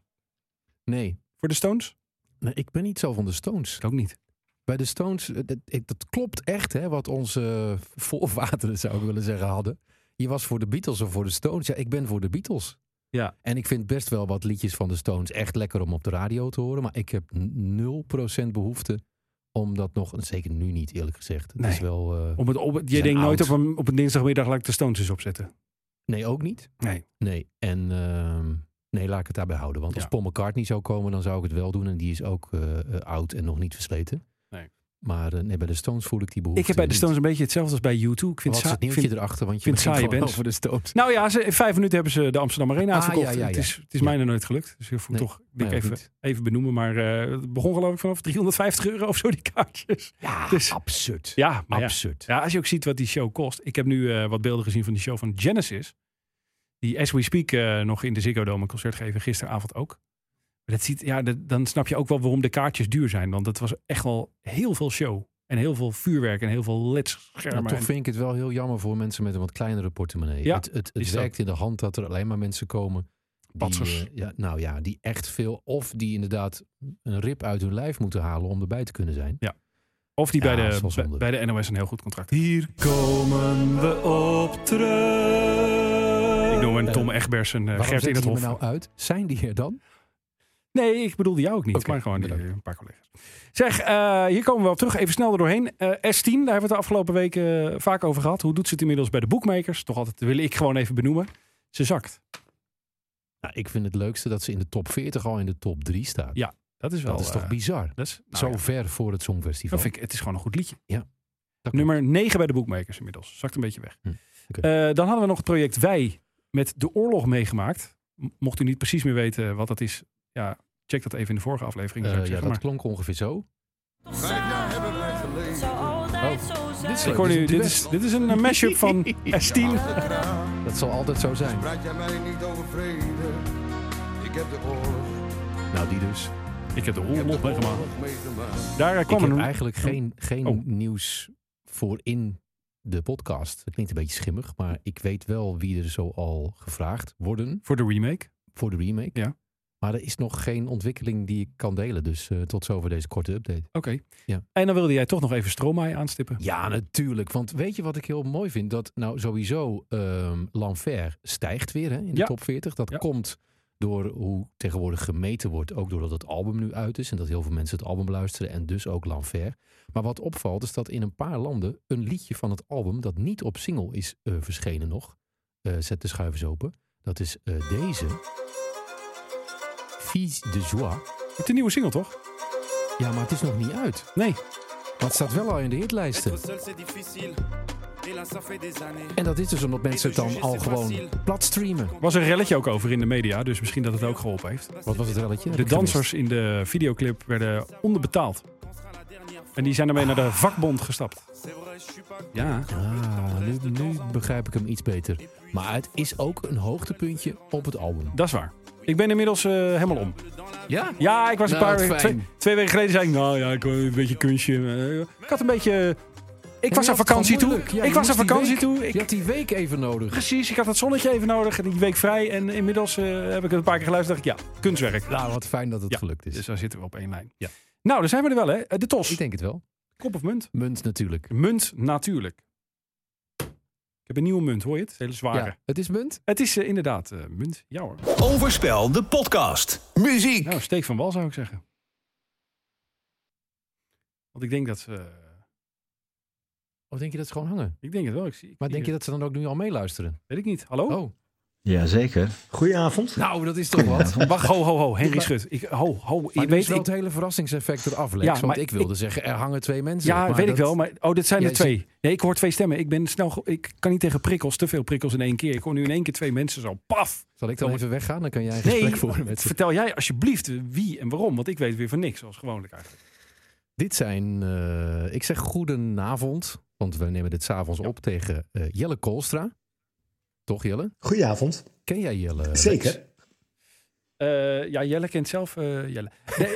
[SPEAKER 4] Nee.
[SPEAKER 3] voor de Stones?
[SPEAKER 4] nee, ik ben niet zo van de Stones.
[SPEAKER 3] Ik ook niet.
[SPEAKER 4] Bij de Stones, eh, dat, ik- dat klopt echt, hè, wat onze (laughs) voorvaderen zou ik willen zeggen hadden. Je was voor de Beatles of voor de Stones. Ja, ik ben voor de Beatles.
[SPEAKER 3] Ja.
[SPEAKER 4] En ik vind best wel wat liedjes van de Stones echt lekker om op de radio te horen. Maar ik heb n- 0% behoefte om dat nog, en zeker nu niet eerlijk gezegd. Het
[SPEAKER 3] Nee.
[SPEAKER 4] is wel, eh,
[SPEAKER 3] Om het, op, je
[SPEAKER 4] zijn
[SPEAKER 3] denkt nooit op
[SPEAKER 4] oud.
[SPEAKER 3] een, op een dinsdagmiddag laat ik de Stones eens opzetten.
[SPEAKER 4] nee, ook niet.
[SPEAKER 3] Nee.
[SPEAKER 4] Nee, en ehm, nee, laat ik het daarbij houden. Want
[SPEAKER 3] Ja.
[SPEAKER 4] als Paul McCartney zou komen, dan zou ik het wel doen. En die is ook eh, eh, oud en nog niet versleten.
[SPEAKER 3] Nee.
[SPEAKER 4] Maar eh, nee, bij de Stones voel ik die behoefte
[SPEAKER 3] Ik heb bij de
[SPEAKER 4] niet.
[SPEAKER 3] Stones een beetje hetzelfde als bij U2. Ik vind
[SPEAKER 4] Wat is
[SPEAKER 3] saai-
[SPEAKER 4] het nieuwtje
[SPEAKER 3] vind-
[SPEAKER 4] erachter? Want je
[SPEAKER 3] vind
[SPEAKER 4] begint
[SPEAKER 3] saaie
[SPEAKER 4] gewoon
[SPEAKER 3] bands.
[SPEAKER 4] over de (laughs) Stones.
[SPEAKER 3] Nou ja, ze, in vijf minuten hebben ze de Amsterdam Arena
[SPEAKER 4] Ah,
[SPEAKER 3] uitverkocht.
[SPEAKER 4] ja, ja,
[SPEAKER 3] Het
[SPEAKER 4] ja.
[SPEAKER 3] is, het is
[SPEAKER 4] Ja.
[SPEAKER 3] mij nog nooit gelukt. Dus ik voel
[SPEAKER 4] Nee, Nou
[SPEAKER 3] toch denk
[SPEAKER 4] nee,
[SPEAKER 3] ik
[SPEAKER 4] ook
[SPEAKER 3] even,
[SPEAKER 4] niet.
[SPEAKER 3] even benoemen. Maar eh, het begon geloof ik vanaf 350 euro of zo die kaartjes.
[SPEAKER 4] Ja,
[SPEAKER 3] Dus-
[SPEAKER 4] absurd.
[SPEAKER 3] Ja, maar ja.
[SPEAKER 4] absurd.
[SPEAKER 3] Ja, als je ook ziet wat die show kost. Ik heb nu eh, wat beelden gezien van die show van Genesis. Die As We Speak eh, nog in de Ziggo Dome een concert geven. Gisteravond ook. Maar dat ziet, ja, dat- dan snap je ook wel waarom de kaartjes duur zijn. Want het was echt wel heel veel show. En heel veel vuurwerk en heel veel
[SPEAKER 4] Maar
[SPEAKER 3] ledschermen.
[SPEAKER 4] toch
[SPEAKER 3] En-
[SPEAKER 4] vind ik het wel heel jammer voor mensen met een wat kleinere portemonnee.
[SPEAKER 3] Ja,
[SPEAKER 4] het het, het
[SPEAKER 3] is dat.
[SPEAKER 4] werkt in de hand dat er alleen maar mensen komen. Die,
[SPEAKER 3] Patsers.
[SPEAKER 4] eh, ja, nou ja, die echt veel. Of die inderdaad een rib uit hun lijf moeten halen om erbij te kunnen zijn.
[SPEAKER 3] Of die
[SPEAKER 4] Ja,
[SPEAKER 3] bij,
[SPEAKER 4] dat is wel
[SPEAKER 3] de,
[SPEAKER 4] zonde.
[SPEAKER 3] bij de NOS een heel goed contract. Hier komen we op terug. Ik noem een Tom Egberts en eh
[SPEAKER 4] Waarom
[SPEAKER 3] Gert in het
[SPEAKER 4] zetten
[SPEAKER 3] Hof.
[SPEAKER 4] die me nou uit? Zijn die er dan?
[SPEAKER 3] Nee, ik bedoelde jou ook niet.
[SPEAKER 4] Oké,
[SPEAKER 3] maar gewoon die-
[SPEAKER 4] bedankt.
[SPEAKER 3] een paar collega's. Zeg, eh, hier komen we op terug. Even snel er doorheen. Eh, S10, daar hebben we het de afgelopen weken eh, vaak over gehad. Hoe doet ze het inmiddels bij de boekmakers? Toch altijd wil ik gewoon even benoemen. Ze zakt.
[SPEAKER 4] Nou, ik vind het leukste dat ze in de top 40 al in de top 3 staat.
[SPEAKER 3] Ja, Dat is wel...
[SPEAKER 4] dat is toch
[SPEAKER 3] eh,
[SPEAKER 4] bizar?
[SPEAKER 3] dat is- nou
[SPEAKER 4] Zo
[SPEAKER 3] ja,
[SPEAKER 4] ver voor het Songfestival.
[SPEAKER 3] dat vind ik, het is gewoon een goed liedje.
[SPEAKER 4] Dat klopt.
[SPEAKER 3] Nummer 9 bij de boekmakers inmiddels. Zakt een beetje weg.
[SPEAKER 4] Hm, oké.
[SPEAKER 3] Eh, dan hadden we nog het project Wij met de oorlog meegemaakt. M- Mocht u niet precies meer weten eh, wat dat is, ja, check dat even in de vorige aflevering. zou
[SPEAKER 4] Eh,
[SPEAKER 3] ik
[SPEAKER 4] ja,
[SPEAKER 3] zeggen.
[SPEAKER 4] dat klonk ongeveer zo.
[SPEAKER 6] Dit
[SPEAKER 4] is
[SPEAKER 3] maar, ik hoor
[SPEAKER 4] Oh, dit
[SPEAKER 3] nu,
[SPEAKER 4] een
[SPEAKER 3] dit
[SPEAKER 4] duet.
[SPEAKER 3] is, dit is een eh, mashup van
[SPEAKER 4] (laughs)
[SPEAKER 3] S10.
[SPEAKER 4] Dat zal altijd zo zijn.
[SPEAKER 7] Praat jij mij niet over vrede? Ik heb de oorlog,
[SPEAKER 4] Nou, die dus.
[SPEAKER 3] Ik heb de oorlog meegemaakt.
[SPEAKER 7] oorlog meegemaakt.
[SPEAKER 3] Daar eh,
[SPEAKER 4] Ik
[SPEAKER 3] kwam
[SPEAKER 4] heb
[SPEAKER 3] een...
[SPEAKER 4] eigenlijk geen, geen
[SPEAKER 3] Oh.
[SPEAKER 4] nieuws voor in de podcast. Het klinkt een beetje schimmig, maar ik weet wel wie er zo al gevraagd worden
[SPEAKER 3] Voor de remake.
[SPEAKER 4] voor de remake.
[SPEAKER 3] Ja.
[SPEAKER 4] Maar er is nog geen ontwikkeling die ik kan delen. Dus eh, tot zover deze korte update.
[SPEAKER 3] Oké.
[SPEAKER 4] Ja.
[SPEAKER 3] En dan wilde jij toch nog even Stromae aanstippen.
[SPEAKER 4] Ja, natuurlijk. Want weet je wat ik heel mooi vind? Dat nou sowieso ehm Lanfer stijgt weer hè, in de
[SPEAKER 3] Ja.
[SPEAKER 4] top 40. Dat
[SPEAKER 3] Ja.
[SPEAKER 4] komt door hoe tegenwoordig gemeten wordt. Ook doordat het album nu uit is en dat heel veel mensen het album luisteren. En dus ook Lanfer. Maar wat opvalt is dat in een paar landen een liedje van het album... dat niet op single is eh, verschenen nog. Eh, zet de schuivers open. Dat is eh, deze. Fils de Joie.
[SPEAKER 3] Het is een nieuwe single, toch?
[SPEAKER 4] Ja, maar het is nog niet uit.
[SPEAKER 3] Nee.
[SPEAKER 4] Maar het staat wel al in de hitlijsten. En dat is dus omdat mensen het dan al gewoon plat streamen.
[SPEAKER 3] Er was een relletje ook over in de media, dus misschien dat het ook geholpen heeft.
[SPEAKER 4] Wat was het relletje?
[SPEAKER 3] De dansers in de videoclip werden onderbetaald. En die zijn daarmee naar de vakbond gestapt. Ja.
[SPEAKER 4] Ah, nu, nu begrijp ik hem iets beter. Maar het is ook een hoogtepuntje op het album.
[SPEAKER 3] Dat is waar. Ik Ik ben inmiddels eh, helemaal om.
[SPEAKER 8] Ja?
[SPEAKER 3] Ja, ik was
[SPEAKER 8] Nou,
[SPEAKER 3] een
[SPEAKER 8] wat
[SPEAKER 3] paar
[SPEAKER 8] fijn.
[SPEAKER 3] twee, twee weken geleden zei ik, nou ja, ik wil een beetje kunstje. Eh, Ik had een beetje. Ik was
[SPEAKER 4] je
[SPEAKER 3] aan
[SPEAKER 4] had het gewoon
[SPEAKER 3] vakantie toe.
[SPEAKER 4] moeilijk. Ja,
[SPEAKER 3] ik
[SPEAKER 4] je
[SPEAKER 3] was aan
[SPEAKER 4] moest die
[SPEAKER 3] vakantie
[SPEAKER 4] week-
[SPEAKER 3] toe. Ik,
[SPEAKER 4] Je had die week even nodig.
[SPEAKER 3] Precies, ik had het zonnetje even nodig en die week vrij. En inmiddels eh, heb ik het een paar keer geluisterd. dacht ik, ja, kunstwerk.
[SPEAKER 4] Nou, wat fijn dat het
[SPEAKER 3] Ja,
[SPEAKER 4] gelukt is.
[SPEAKER 3] Dus daar zitten we op één lijn.
[SPEAKER 4] Ja.
[SPEAKER 3] Nou, daar zijn we er wel, hè? Eh, De tos.
[SPEAKER 4] Ik denk het wel.
[SPEAKER 3] Kop of munt?
[SPEAKER 4] Munt natuurlijk.
[SPEAKER 3] Munt, natuurlijk. Ik heb een nieuwe munt, hoor je het? Hele zware.
[SPEAKER 4] Ja, het is munt.
[SPEAKER 3] Het is eh, inderdaad eh, munt. Ja hoor.
[SPEAKER 1] Overspel, de podcast.
[SPEAKER 2] Muziek.
[SPEAKER 3] Nou, steek van wal zou ik zeggen. Want ik denk dat ze...
[SPEAKER 4] Of denk je dat ze gewoon hangen?
[SPEAKER 3] ik denk het wel. Ik zie, ik
[SPEAKER 4] Maar
[SPEAKER 3] zie
[SPEAKER 4] denk je dat ze dan ook nu al meeluisteren?
[SPEAKER 3] Weet ik niet. Hallo?
[SPEAKER 4] Oh.
[SPEAKER 9] Jazeker. Goedenavond.
[SPEAKER 4] Nou, dat is toch wat. (laughs)
[SPEAKER 3] Wacht, ho, ho, ho. Henry Schut. Ik, ho, ho.
[SPEAKER 4] Maar
[SPEAKER 3] ik
[SPEAKER 4] weet
[SPEAKER 3] weet...
[SPEAKER 4] wel
[SPEAKER 3] Ik,
[SPEAKER 4] het hele verrassingseffect eraf, Lex.
[SPEAKER 3] Ja,
[SPEAKER 4] want
[SPEAKER 3] maar
[SPEAKER 4] ik wilde zeggen, er hangen twee mensen.
[SPEAKER 3] ja,
[SPEAKER 4] maar
[SPEAKER 3] weet ik
[SPEAKER 4] dat-
[SPEAKER 3] wel. Maar, oh, dit zijn
[SPEAKER 4] Jij
[SPEAKER 3] er twee. Nee, ik hoor twee stemmen. Ik ben snel... ge- Ik kan niet tegen prikkels. Te veel prikkels in één keer. Ik hoor nu in één keer twee mensen zo. Paf!
[SPEAKER 4] Zal ik dan even weggaan? Dan kan jij een
[SPEAKER 3] Nee,
[SPEAKER 4] gesprek voeren met ze.
[SPEAKER 3] vertel jij alsjeblieft wie en waarom. Want ik weet weer van niks, zoals gewoonlijk eigenlijk.
[SPEAKER 4] Dit zijn, eh, ik zeg goedenavond, want we nemen dit s'avonds op tegen eh, Jelle Koolstra. Toch Jelle?
[SPEAKER 9] Goedenavond.
[SPEAKER 4] Ken jij Jelle? Lex?
[SPEAKER 9] Zeker.
[SPEAKER 3] Eh, ja, Jelle kent zelf eh, (laughs) Jelle. Nee,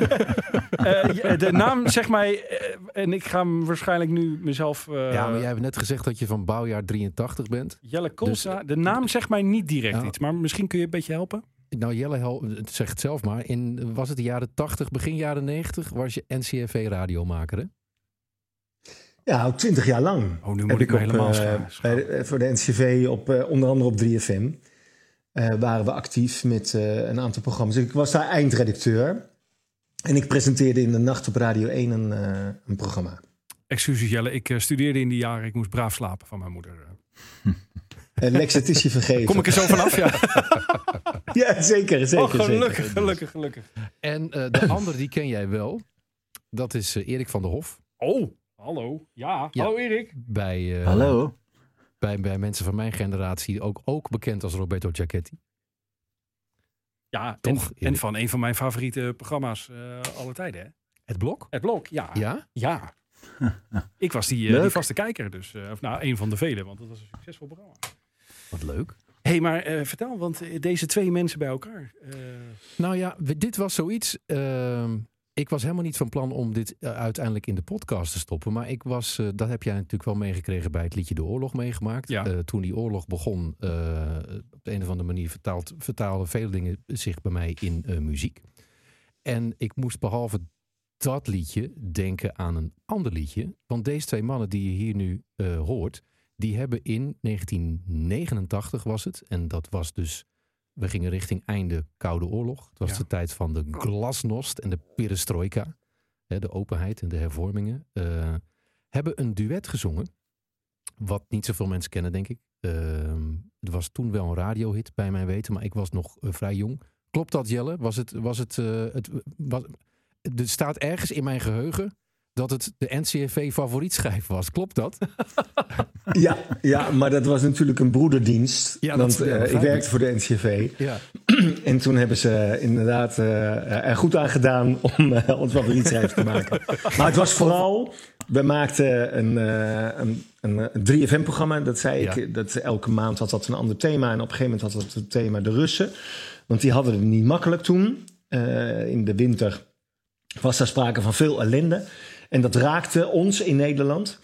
[SPEAKER 3] eh, eh, de naam, zeg mij, eh, en ik ga hem waarschijnlijk nu mezelf... eh,
[SPEAKER 4] Ja, maar jij hebt net gezegd dat je van bouwjaar 83 bent.
[SPEAKER 3] Jelle Kolsa, de naam zegt mij niet direct
[SPEAKER 4] Dus, eh, Ja.
[SPEAKER 3] iets, maar misschien kun je een beetje helpen.
[SPEAKER 4] Nou, Jelle hel- zegt het zelf maar. In, was het de jaren 80, begin jaren 90, was je NCRV-radiomaker, hè?
[SPEAKER 9] Ja, ook twintig jaar lang.
[SPEAKER 3] Oh, nu moet ik
[SPEAKER 9] heb ik
[SPEAKER 3] me
[SPEAKER 9] op,
[SPEAKER 3] helemaal
[SPEAKER 9] eh,
[SPEAKER 3] schamen.
[SPEAKER 9] bij de- eh, voor de NCV, op, eh, onder andere op 3FM, eh, waren we actief met eh, een aantal programma's. Ik was daar eindredacteur. En ik presenteerde in de nacht op Radio 1 een, eh, een programma.
[SPEAKER 3] Excuses Jelle, ik eh, studeerde in die jaren, ik moest braaf slapen van mijn moeder.
[SPEAKER 9] Eh, Lex, het is je vergeven.
[SPEAKER 3] Kom ik er zo vanaf?
[SPEAKER 4] (laughs)
[SPEAKER 3] Ja,
[SPEAKER 9] Ja, zeker, zeker.
[SPEAKER 3] oh, gelukkig,
[SPEAKER 9] zeker.
[SPEAKER 3] gelukkig, gelukkig.
[SPEAKER 4] En eh,
[SPEAKER 9] (laughs)
[SPEAKER 4] de ander, die ken jij wel. Dat is eh, Erik van der Hof.
[SPEAKER 3] Oh, hallo. Ja,
[SPEAKER 4] Ja.
[SPEAKER 3] hallo Erik.
[SPEAKER 4] Bij, eh,
[SPEAKER 9] Hallo.
[SPEAKER 4] Bij, bij mensen van mijn generatie ook, ook bekend als Roberto Giacchetti.
[SPEAKER 3] Ja,
[SPEAKER 4] Toch,
[SPEAKER 3] en, en
[SPEAKER 4] Erik.
[SPEAKER 3] van een van mijn favoriete programma's eh alle tijden. Hè?
[SPEAKER 4] Het blok?
[SPEAKER 3] Het Blok, ja.
[SPEAKER 4] Ja? (laughs)
[SPEAKER 3] Ja. ik was die, eh, die vaste kijker dus. eh, of nou, een van de velen, want dat was een succesvol programma.
[SPEAKER 4] Wat leuk.
[SPEAKER 3] Hé, hey, maar eh, vertel, want eh, deze twee mensen bij elkaar. eh,
[SPEAKER 4] Nou ja, we- dit was zoiets. ehm, ik was helemaal niet van plan om dit eh, uiteindelijk in de podcast te stoppen. Maar ik was, eh, dat heb jij natuurlijk wel meegekregen bij het liedje De Oorlog meegemaakt.
[SPEAKER 3] Ja.
[SPEAKER 4] Eh, toen die oorlog begon, eh, op de een of andere manier vertaald, vertaalden vele dingen zich bij mij in eh, muziek. En ik moest behalve dat liedje denken aan een ander liedje. Want deze twee mannen die je hier nu eh, hoort, die hebben in 1989 was het. En dat was dus, we gingen richting einde Koude Oorlog. Het was
[SPEAKER 3] Ja.
[SPEAKER 4] de tijd van de glasnost en de perestroika. Hè, de openheid en de hervormingen. eh, hebben een duet gezongen. Wat niet zoveel mensen kennen, denk ik. Ehm, het was toen wel een radiohit bij mijn weten, maar ik was nog eh, vrij jong. Klopt dat, Jelle? Was het, was het, eh, het was, er staat ergens in mijn geheugen dat het de NCRV favorietschijf was. Klopt dat?
[SPEAKER 9] Ja, ja, maar dat was natuurlijk een broederdienst.
[SPEAKER 4] Ja, dat
[SPEAKER 9] want
[SPEAKER 4] is- ja,
[SPEAKER 9] eh, ik
[SPEAKER 4] begrijp ik.
[SPEAKER 9] werkte voor de NCV.
[SPEAKER 4] Ja.
[SPEAKER 9] En toen hebben ze inderdaad eh, er goed aan gedaan om eh, ons wat research te maken. Maar het was vooral, we maakten een, eh, een, een, eh, 3FM-programma, dat zei
[SPEAKER 4] Ja.
[SPEAKER 9] ik. Dat elke maand had dat een ander thema. En op een gegeven moment had dat het thema de Russen. Want die hadden het niet makkelijk toen. Eh, in de winter was daar sprake van veel ellende. En dat raakte ons in Nederland.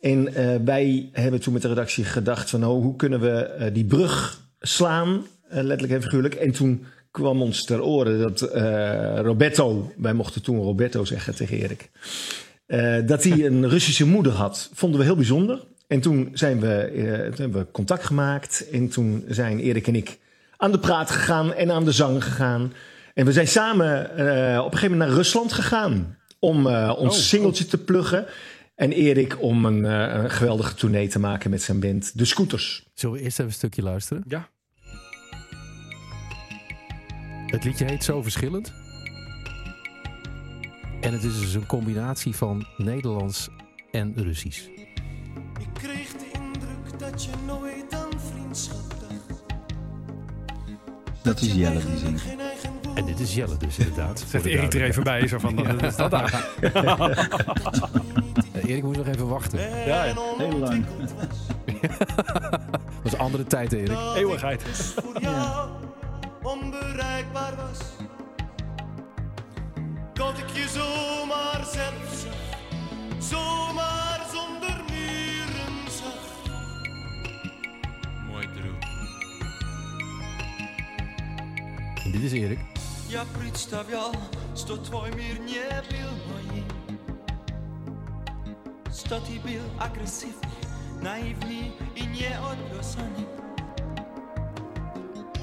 [SPEAKER 9] En eh, wij hebben toen met de redactie gedacht van... Oh, hoe kunnen we eh, die brug slaan, eh, letterlijk en figuurlijk. En toen kwam ons ter oren dat eh, Roberto... wij mochten toen Roberto zeggen tegen Erik... eh, dat hij een Russische moeder had. Vonden we heel bijzonder. En toen, zijn we, eh, toen hebben we contact gemaakt. En toen zijn Erik en ik aan de praat gegaan en aan de zang gegaan. En we zijn samen eh, op een gegeven moment naar Rusland gegaan om eh, ons singeltje te pluggen. En Erik om een, eh, een geweldige tournee te maken met zijn band De Scooters.
[SPEAKER 4] Zullen we eerst even een stukje luisteren?
[SPEAKER 3] Ja.
[SPEAKER 4] Het liedje heet Zo Verschillend. En het is dus een combinatie van Nederlands en Russisch.
[SPEAKER 5] Ik kreeg de indruk dat je nooit aan vriendschap dacht. Dat is Jelle die zingt.
[SPEAKER 4] En dit is Jelle dus inderdaad.
[SPEAKER 3] Zegt
[SPEAKER 4] voor de
[SPEAKER 3] Erik er even bij. Zo
[SPEAKER 4] (laughs)
[SPEAKER 3] van, dat is dat daar.
[SPEAKER 4] duidelijkheid. Eh, Erik moest nog even wachten.
[SPEAKER 5] Heel lang.
[SPEAKER 4] Dat is andere tijd, Erik.
[SPEAKER 5] (laughs)
[SPEAKER 3] Eeuwigheid.
[SPEAKER 5] Voor jou onbereikbaar was. Dat ik je zomaar zelf zag, zomaar zonder muren zag. Mooi droom.
[SPEAKER 4] En dit is Erik.
[SPEAKER 5] Я представлял, что твой мир не был моим Что ты был агрессивный, наивный и неотесанный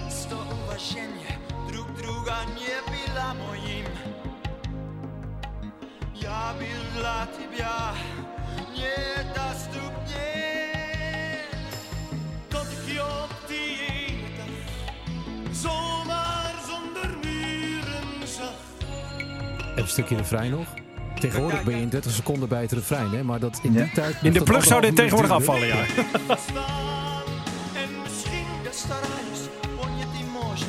[SPEAKER 5] Что уважение друг друга не было моим Я был для тебя недоступнее Тот ёптый металл Zomaar zonder muren zag.
[SPEAKER 4] Even een stukje refrein nog. Tegenwoordig ben je in 30 seconden bij het refrein, hè? maar dat in die tijd... mocht
[SPEAKER 3] In de
[SPEAKER 4] dat
[SPEAKER 3] plug zou
[SPEAKER 4] anderhalf
[SPEAKER 3] dit
[SPEAKER 4] uur
[SPEAKER 3] tegenwoordig afvallen,
[SPEAKER 4] duren.
[SPEAKER 3] ja.
[SPEAKER 5] staan. En misschien starajus on je die mooi.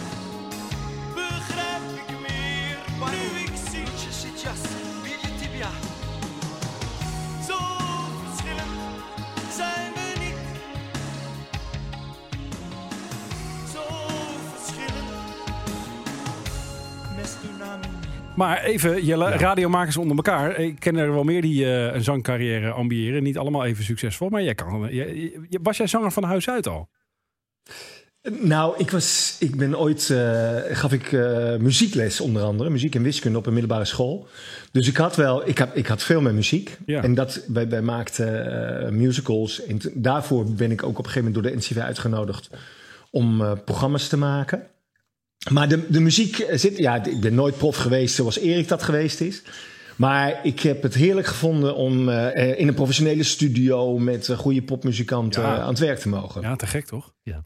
[SPEAKER 5] Begrijp ik meer waarom ik zie je zit jas, wil je tibia. Zo verschillend zijn we niet. Zo verschillend. Mes tsunami.
[SPEAKER 3] Maar even, Jelle, radiomakers onder elkaar. Ik ken er wel meer die eh, een zangcarrière ambiëren. Niet allemaal even succesvol, maar jij kan... je- je- was jij zanger van huis uit al?
[SPEAKER 9] Nou, ik, was, ik ben ooit, eh, gaf ik eh, muziekles onder andere, muziek en wiskunde op een middelbare school. Dus ik had wel, ik had, ik had veel met muziek.
[SPEAKER 3] Ja.
[SPEAKER 9] En dat, wij, wij maakten eh, musicals. En t- daarvoor ben ik ook op een gegeven moment door de NCV uitgenodigd om eh, programma's te maken. Maar de, de muziek eh, zit, ja, ik ben nooit prof geweest zoals Erik dat geweest is. Maar ik heb het heerlijk gevonden om eh, eh, in een professionele studio met eh, goede popmuzikanten
[SPEAKER 3] Ja.
[SPEAKER 9] eh, aan het werk te mogen.
[SPEAKER 3] Ja, te gek toch?
[SPEAKER 9] Ja.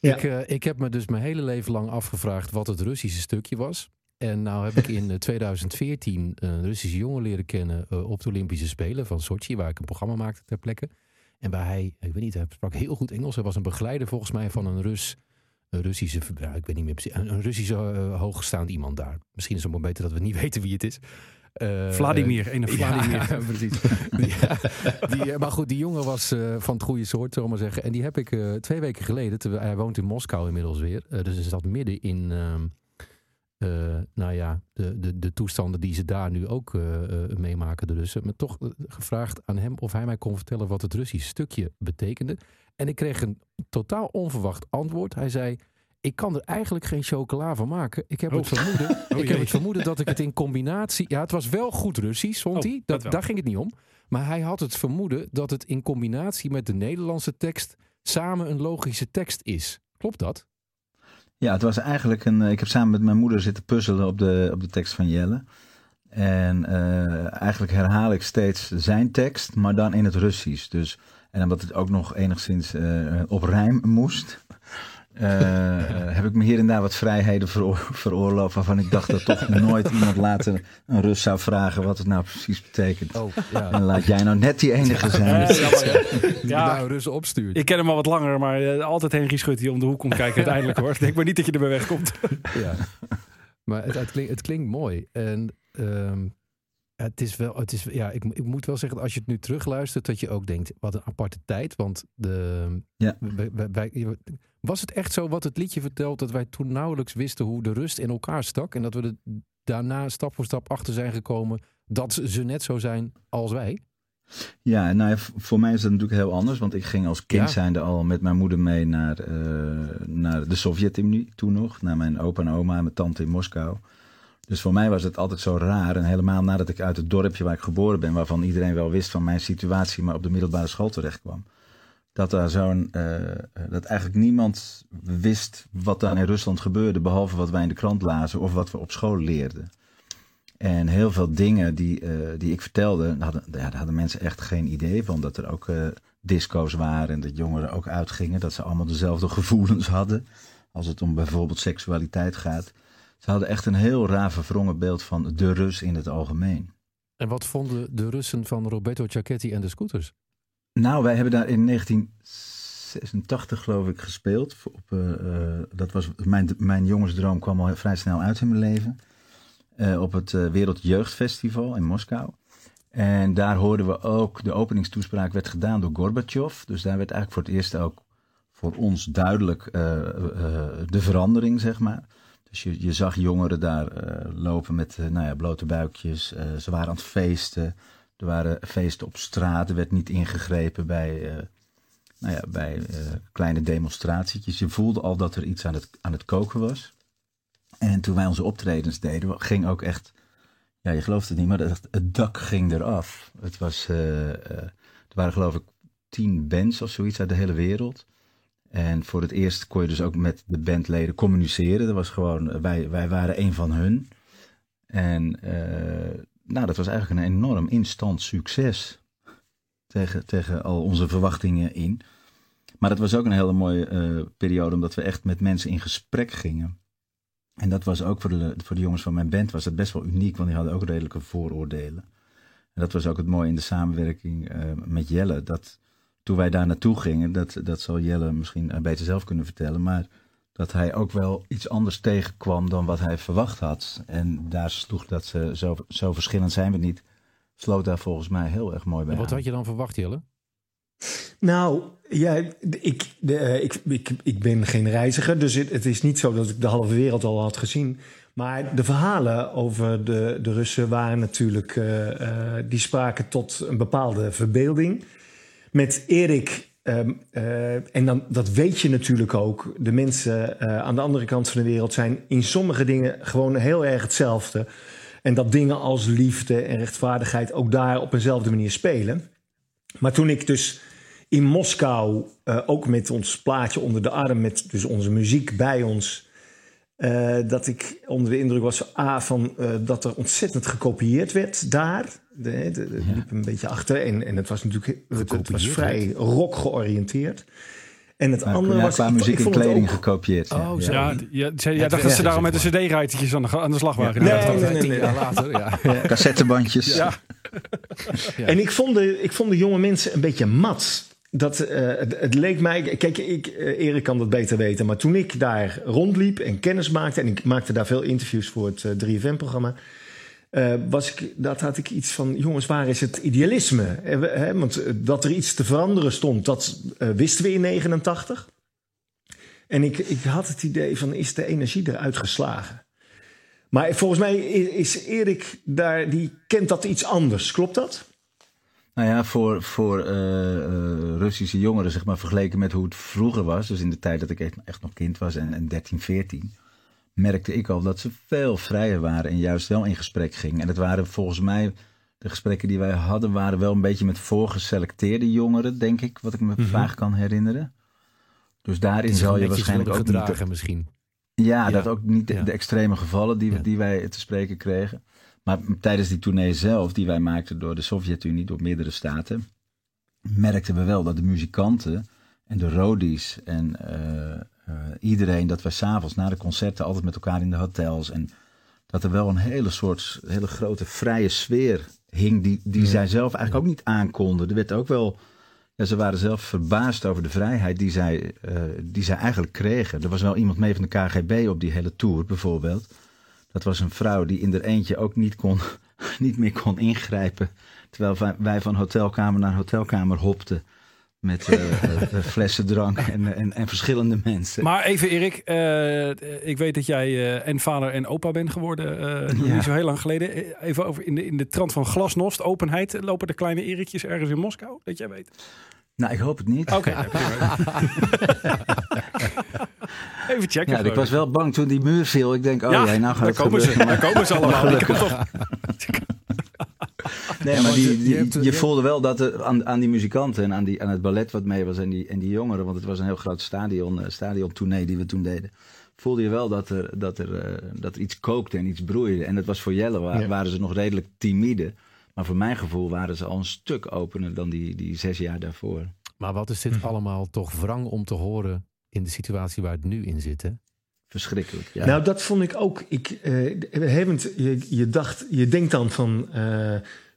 [SPEAKER 4] Ik, eh, ik heb me dus mijn hele leven lang afgevraagd wat het Russische stukje was. En nou heb ik in eh, 2014 een Russische jongen leren kennen eh, op de Olympische Spelen van Sochi, waar ik een programma maakte ter plekke. En waar hij, ik weet niet, hij sprak heel goed Engels. Hij was een begeleider volgens mij van een Rus, een Russische, nou, ik weet niet meer precies, een, een Russische eh, hoogstaand iemand daar. Misschien is het maar beter dat we niet (laughs) weten wie het is. Eh,
[SPEAKER 3] Vladimir, (laughs) ene Vladimir. Eh,
[SPEAKER 4] ja, precies. ja, (laughs) die, eh, maar goed, die jongen was eh, van het goede soort, zullen we maar zeggen. En die heb ik eh, twee weken geleden, terwijl hij woont in Moskou inmiddels weer. eh, dus hij zat midden in, ehm, eh, nou ja, de, de, de toestanden die ze daar nu ook eh, eh, meemaken, de Russen. Maar toch eh, gevraagd aan hem of hij mij kon vertellen wat het Russisch stukje betekende. En ik kreeg een totaal onverwacht antwoord. Hij zei... Ik kan er eigenlijk geen chocola van maken. Ik heb, het, vermoeden, ik heb
[SPEAKER 3] jee.
[SPEAKER 4] het vermoeden dat ik het in combinatie... Ja, het was wel goed Russisch, vond
[SPEAKER 3] Oh,
[SPEAKER 4] hij.
[SPEAKER 3] dat
[SPEAKER 4] Dat,
[SPEAKER 3] wel.
[SPEAKER 4] daar ging het niet om. Maar hij had het vermoeden dat het in combinatie met de Nederlandse tekst... samen een logische tekst is. Klopt dat?
[SPEAKER 8] Ja, het was eigenlijk een. eh, Ik heb samen met mijn moeder zitten puzzelen op de, op de tekst van Jelle. En eh, eigenlijk herhaal ik steeds zijn tekst, maar dan in het Russisch. Dus, en omdat het ook nog enigszins eh, op rijm moest, eh, heb ik me hier en daar wat vrijheden veroor- veroorloofd. Waarvan ik dacht dat toch nooit iemand later een Rus zou vragen wat het nou precies betekent.
[SPEAKER 4] Oh,
[SPEAKER 8] En
[SPEAKER 4] ja.
[SPEAKER 8] laat jij nou net die enige zijn.
[SPEAKER 3] Ja.
[SPEAKER 4] nou Russen opstuurt.
[SPEAKER 3] Ik ken hem al wat langer, maar eh, altijd Henry Schut die om de hoek komt (laughs) kijken uiteindelijk hoor. Ik denk maar niet dat je erbij wegkomt.
[SPEAKER 4] Ja. (laughs) Maar het, het, klinkt, het klinkt mooi. En ehm, het is wel, het is, ja, ik, ik moet wel zeggen, dat als je het nu terugluistert, dat je ook denkt, wat een aparte tijd. Want de,
[SPEAKER 8] Ja.
[SPEAKER 4] wij- wij- wij- was het echt zo wat het liedje vertelt, dat wij toen nauwelijks wisten hoe de rust in elkaar stak. En dat we er daarna stap voor stap achter zijn gekomen dat ze- ze net zo zijn als wij.
[SPEAKER 8] Ja, nou ja, v- voor mij is dat natuurlijk heel anders. Want ik ging als kind
[SPEAKER 4] Ja.
[SPEAKER 8] zijnde al met mijn moeder mee naar, eh, naar de Sovjet-Unie toen nog. Naar mijn opa en oma en mijn tante in Moskou. Dus voor mij was het altijd zo raar. En helemaal nadat ik uit het dorpje waar ik geboren ben... waarvan iedereen wel wist van mijn situatie... maar op de middelbare school terecht kwam. Dat daar zo'n... eh, dat eigenlijk niemand wist wat daar in Rusland gebeurde... behalve wat wij in de krant lazen of wat we op school leerden. En heel veel dingen die, eh, die ik vertelde, daar hadden, ja, daar hadden mensen echt geen idee van. Dat er ook eh, disco's waren en dat jongeren ook uitgingen. Dat ze allemaal dezelfde (laughs) gevoelens hadden. Als het om bijvoorbeeld seksualiteit gaat. Ze hadden echt een heel raar verwrongen beeld van de Rus in het algemeen.
[SPEAKER 4] En wat vonden de Russen van Roberto Giacchetti en de scooters?
[SPEAKER 8] Nou, wij hebben daar in 1986 geloof ik gespeeld. Voor- Op, eh, eh, dat was, mijn, mijn jongensdroom kwam al vrij snel uit in mijn leven. Eh, op het eh, Wereldjeugdfestival in Moskou. En daar hoorden we ook, de openingstoespraak werd gedaan door Gorbachev. Dus daar werd eigenlijk voor het eerst ook voor ons duidelijk eh, eh, de verandering, zeg maar. Dus je, je zag jongeren daar eh, lopen met eh, nou ja, blote buikjes. Eh, ze waren aan het feesten. Er waren feesten op straat. Er werd niet ingegrepen bij, eh, nou ja, bij eh, kleine demonstratietjes. Je voelde al dat er iets aan het, aan het koken was. En toen wij onze optredens deden, ging ook echt... Ja, je gelooft het niet, maar het, het dak ging eraf. Het was, eh, eh, er waren geloof ik tien bands of zoiets uit de hele wereld. En voor het eerst kon je dus ook met de bandleden communiceren. Dat was gewoon, eh, wij, wij waren een van hun. En eh, nou, dat was eigenlijk een enorm instant succes. Tegen, tegen al onze verwachtingen in. Maar dat was ook een hele mooie eh, periode, omdat we echt met mensen in gesprek gingen. En dat was ook voor de, voor de jongens van mijn band was het best wel uniek, want die hadden ook redelijke vooroordelen. En dat was ook het mooie in de samenwerking eh, met Jelle. Dat toen wij daar naartoe gingen, dat, dat zal Jelle misschien eh, beter zelf kunnen vertellen, maar dat hij ook wel iets anders tegenkwam dan wat hij verwacht had. En daar sloeg dat ze, zo, zo verschillend zijn we niet, sloot daar volgens mij heel erg mooi bij
[SPEAKER 4] En wat
[SPEAKER 8] aan.
[SPEAKER 4] had je dan verwacht, Jelle?
[SPEAKER 9] Nou, ja, ik, de, eh, ik, ik, ik ben geen reiziger, dus het, het is niet zo dat ik de halve wereld al had gezien. Maar de verhalen over de, de Russen waren natuurlijk, eh, eh, die spraken tot een bepaalde verbeelding. Met Erik, ehm, eh, en dan, dat weet je natuurlijk ook, de mensen eh, aan de andere kant van de wereld zijn in sommige dingen gewoon heel erg hetzelfde. En dat dingen als liefde en rechtvaardigheid ook daar op eenzelfde manier spelen. Maar toen ik dus in Moskou, eh, ook met ons plaatje onder de arm, met dus onze muziek bij ons, eh, dat ik onder de indruk was A, van eh, dat er ontzettend gekopieerd werd daar. De, de, de- liep een beetje achter en, en het was natuurlijk het, het was vrij rock georiënteerd. En het
[SPEAKER 8] Maar
[SPEAKER 9] andere
[SPEAKER 8] Nou, ja,
[SPEAKER 9] was
[SPEAKER 8] qua
[SPEAKER 9] ik- ik
[SPEAKER 8] muziek en
[SPEAKER 9] vond het
[SPEAKER 8] kleding
[SPEAKER 9] ook-
[SPEAKER 8] gekopieerd. ja.
[SPEAKER 4] Oh,
[SPEAKER 8] Ja.
[SPEAKER 4] zo.
[SPEAKER 3] Ja, d- ja, ze, ja dacht dat ze daarom met de cd-rijtertjes aan, de ga- aan de slag waren.
[SPEAKER 9] Nee,
[SPEAKER 3] Ja, dat-
[SPEAKER 9] nee, nee, nee.
[SPEAKER 4] Tien jaar later, ja.
[SPEAKER 9] (laughs)
[SPEAKER 8] Cassettebandjes.
[SPEAKER 3] Ja.
[SPEAKER 4] Ja.
[SPEAKER 9] En ik vond, de, ik vond de jonge mensen een beetje mat. Dat, eh, het, het leek mij, kijk, ik, eh, Erik kan dat beter weten, maar toen ik daar rondliep en kennis maakte, en ik maakte daar veel interviews voor het eh, 3FM-programma, eh, was ik, dat had ik iets van, jongens, waar is het idealisme? Eh, we- hè, want eh, dat er iets te veranderen stond, dat eh, wisten we in 89. En ik, ik had het idee van, is de energie eruit geslagen? Maar volgens mij i- is Erik daar, die kent dat iets anders, klopt dat?
[SPEAKER 8] Nou ja, voor, voor eh, eh, Russische jongeren, zeg maar, vergeleken met hoe het vroeger was, dus in de tijd dat ik echt, echt nog kind was en, en 13, 14, merkte ik al dat ze veel vrijer waren en juist wel in gesprek gingen. En dat waren volgens mij, de gesprekken die wij hadden, waren wel een beetje met voorgeselecteerde jongeren, denk ik, wat ik me vaag kan herinneren. Dus daarin zal je waarschijnlijk ook niet
[SPEAKER 4] gedragen misschien.
[SPEAKER 8] ja,
[SPEAKER 4] Ja.
[SPEAKER 8] dat ook niet de,
[SPEAKER 4] Ja.
[SPEAKER 8] de extreme gevallen die, we-
[SPEAKER 4] Ja.
[SPEAKER 8] die wij te spreken kregen. Maar m- tijdens die tournee zelf, die wij maakten door de Sovjet-Unie, door meerdere staten, merkten we wel dat de muzikanten en de roadies en eh, eh, iedereen, dat wij s'avonds na de concerten altijd met elkaar in de hotels en dat er wel een hele soort, hele grote vrije sfeer hing die, die zij zelf eigenlijk ook niet aankonden. Er werd ook wel, ja, ze waren zelf verbaasd over de vrijheid die zij, eh, die zij eigenlijk kregen. Er was wel iemand mee van de KGB op die hele tour bijvoorbeeld. Dat was een vrouw die in haar eentje ook niet, kon, (laughs) niet meer kon ingrijpen. Terwijl wij- wij van hotelkamer naar hotelkamer hopten. Met eh, eh, flessen drank en, en, en verschillende mensen.
[SPEAKER 3] Maar even Erik, eh, ik weet dat jij eh, en vader en opa bent geworden. eh, nog
[SPEAKER 8] Ja.
[SPEAKER 3] Niet zo heel lang geleden. Eh, Even over in de, in de trant van glasnost, openheid. eh, Lopen de kleine Erikjes ergens in Moskou? Dat jij weet.
[SPEAKER 8] Nou, ik hoop het niet.
[SPEAKER 3] Oké. (laughs) even checken.
[SPEAKER 8] Ja, ik
[SPEAKER 3] gewoon.
[SPEAKER 8] was wel bang toen die muur viel. Ik denk, oh ja, nou gaat
[SPEAKER 3] daar
[SPEAKER 8] het
[SPEAKER 3] komen ze.
[SPEAKER 8] gebeuren.
[SPEAKER 3] Daar komen ze allemaal. Die kant op.
[SPEAKER 8] Nee, maar
[SPEAKER 4] want
[SPEAKER 8] die,
[SPEAKER 4] je-
[SPEAKER 8] die-
[SPEAKER 4] je hebt-
[SPEAKER 8] je
[SPEAKER 4] je-
[SPEAKER 8] voelde wel dat er aan, aan die muzikanten en aan, die, aan het ballet wat mee was en die, en die jongeren, want het was een heel groot stadion, eh, stadiontournee die we toen deden, voelde je wel dat er, dat, er, eh, dat er iets kookte en iets broeide. En dat was voor Jelle, wa-
[SPEAKER 9] Ja.
[SPEAKER 8] waren ze nog redelijk timide. Maar voor mijn gevoel waren ze al een stuk opener dan die, die zes jaar daarvoor.
[SPEAKER 4] Maar wat is
[SPEAKER 8] Mhm.
[SPEAKER 4] dit allemaal toch wrang om te horen in de situatie waar het nu in zit, hè?
[SPEAKER 8] Verschrikkelijk. Ja.
[SPEAKER 9] Nou, dat vond ik ook. Ik, eh, Hemend, je, je, dacht, je denkt dan van. eh,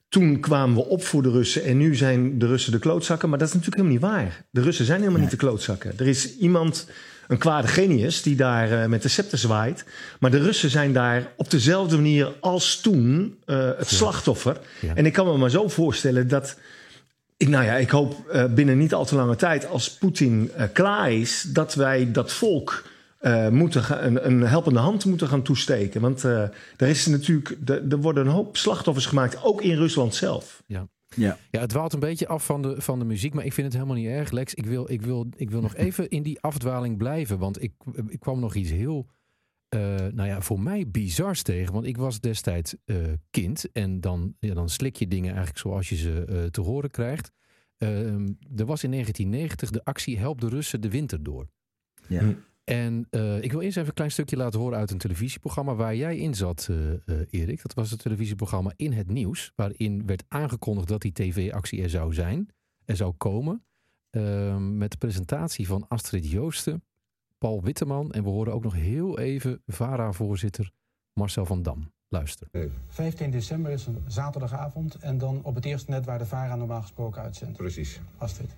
[SPEAKER 9] toen kwamen we op voor de Russen en nu zijn de Russen de klootzakken. Maar dat is natuurlijk helemaal niet waar. De Russen zijn helemaal niet de klootzakken. Er is iemand, een kwade genius, die daar eh, met de scepter zwaait. Maar de Russen zijn daar op dezelfde manier als toen eh, het slachtoffer.
[SPEAKER 4] Ja.
[SPEAKER 9] En ik kan me maar zo voorstellen dat. Ik, nou ja, ik hoop eh, binnen niet al te lange tijd, als Poetin eh, klaar is, dat wij dat volk eh, moeten ga- een, een helpende hand moeten gaan toesteken. Want eh, er, is natuurlijk, er er worden een hoop slachtoffers gemaakt, ook in Rusland zelf.
[SPEAKER 8] Ja.
[SPEAKER 4] Ja, het dwaalt een beetje af van de, van de muziek, maar ik vind het helemaal niet erg, Lex. Ik wil, ik wil, ik
[SPEAKER 8] (laughs)
[SPEAKER 4] wil nog even in die afdwaling blijven, want ik, ik kwam nog iets heel, eh, nou ja, voor mij bizars tegen. Want ik was destijds eh, kind en dan, ja, dan slik je dingen eigenlijk zoals je ze eh, te horen krijgt. Ehm, er was in 1990 de actie Help de Russen de winter door.
[SPEAKER 8] Ja.
[SPEAKER 9] Hm.
[SPEAKER 4] En eh, ik wil eerst even een klein stukje laten horen uit een televisieprogramma waar jij in zat, eh, eh, Erik. Dat was het televisieprogramma In het Nieuws, waarin werd aangekondigd dat die tv-actie er zou zijn, er zou komen. Ehm, met de presentatie van Astrid Joosten, Paul Witteman en we horen ook nog heel even VARA-voorzitter Marcel van Dam. Luister.
[SPEAKER 10] 15 december is een zaterdagavond en dan op het eerste net waar de VARA normaal gesproken uitzendt.
[SPEAKER 11] Precies.
[SPEAKER 10] Astrid.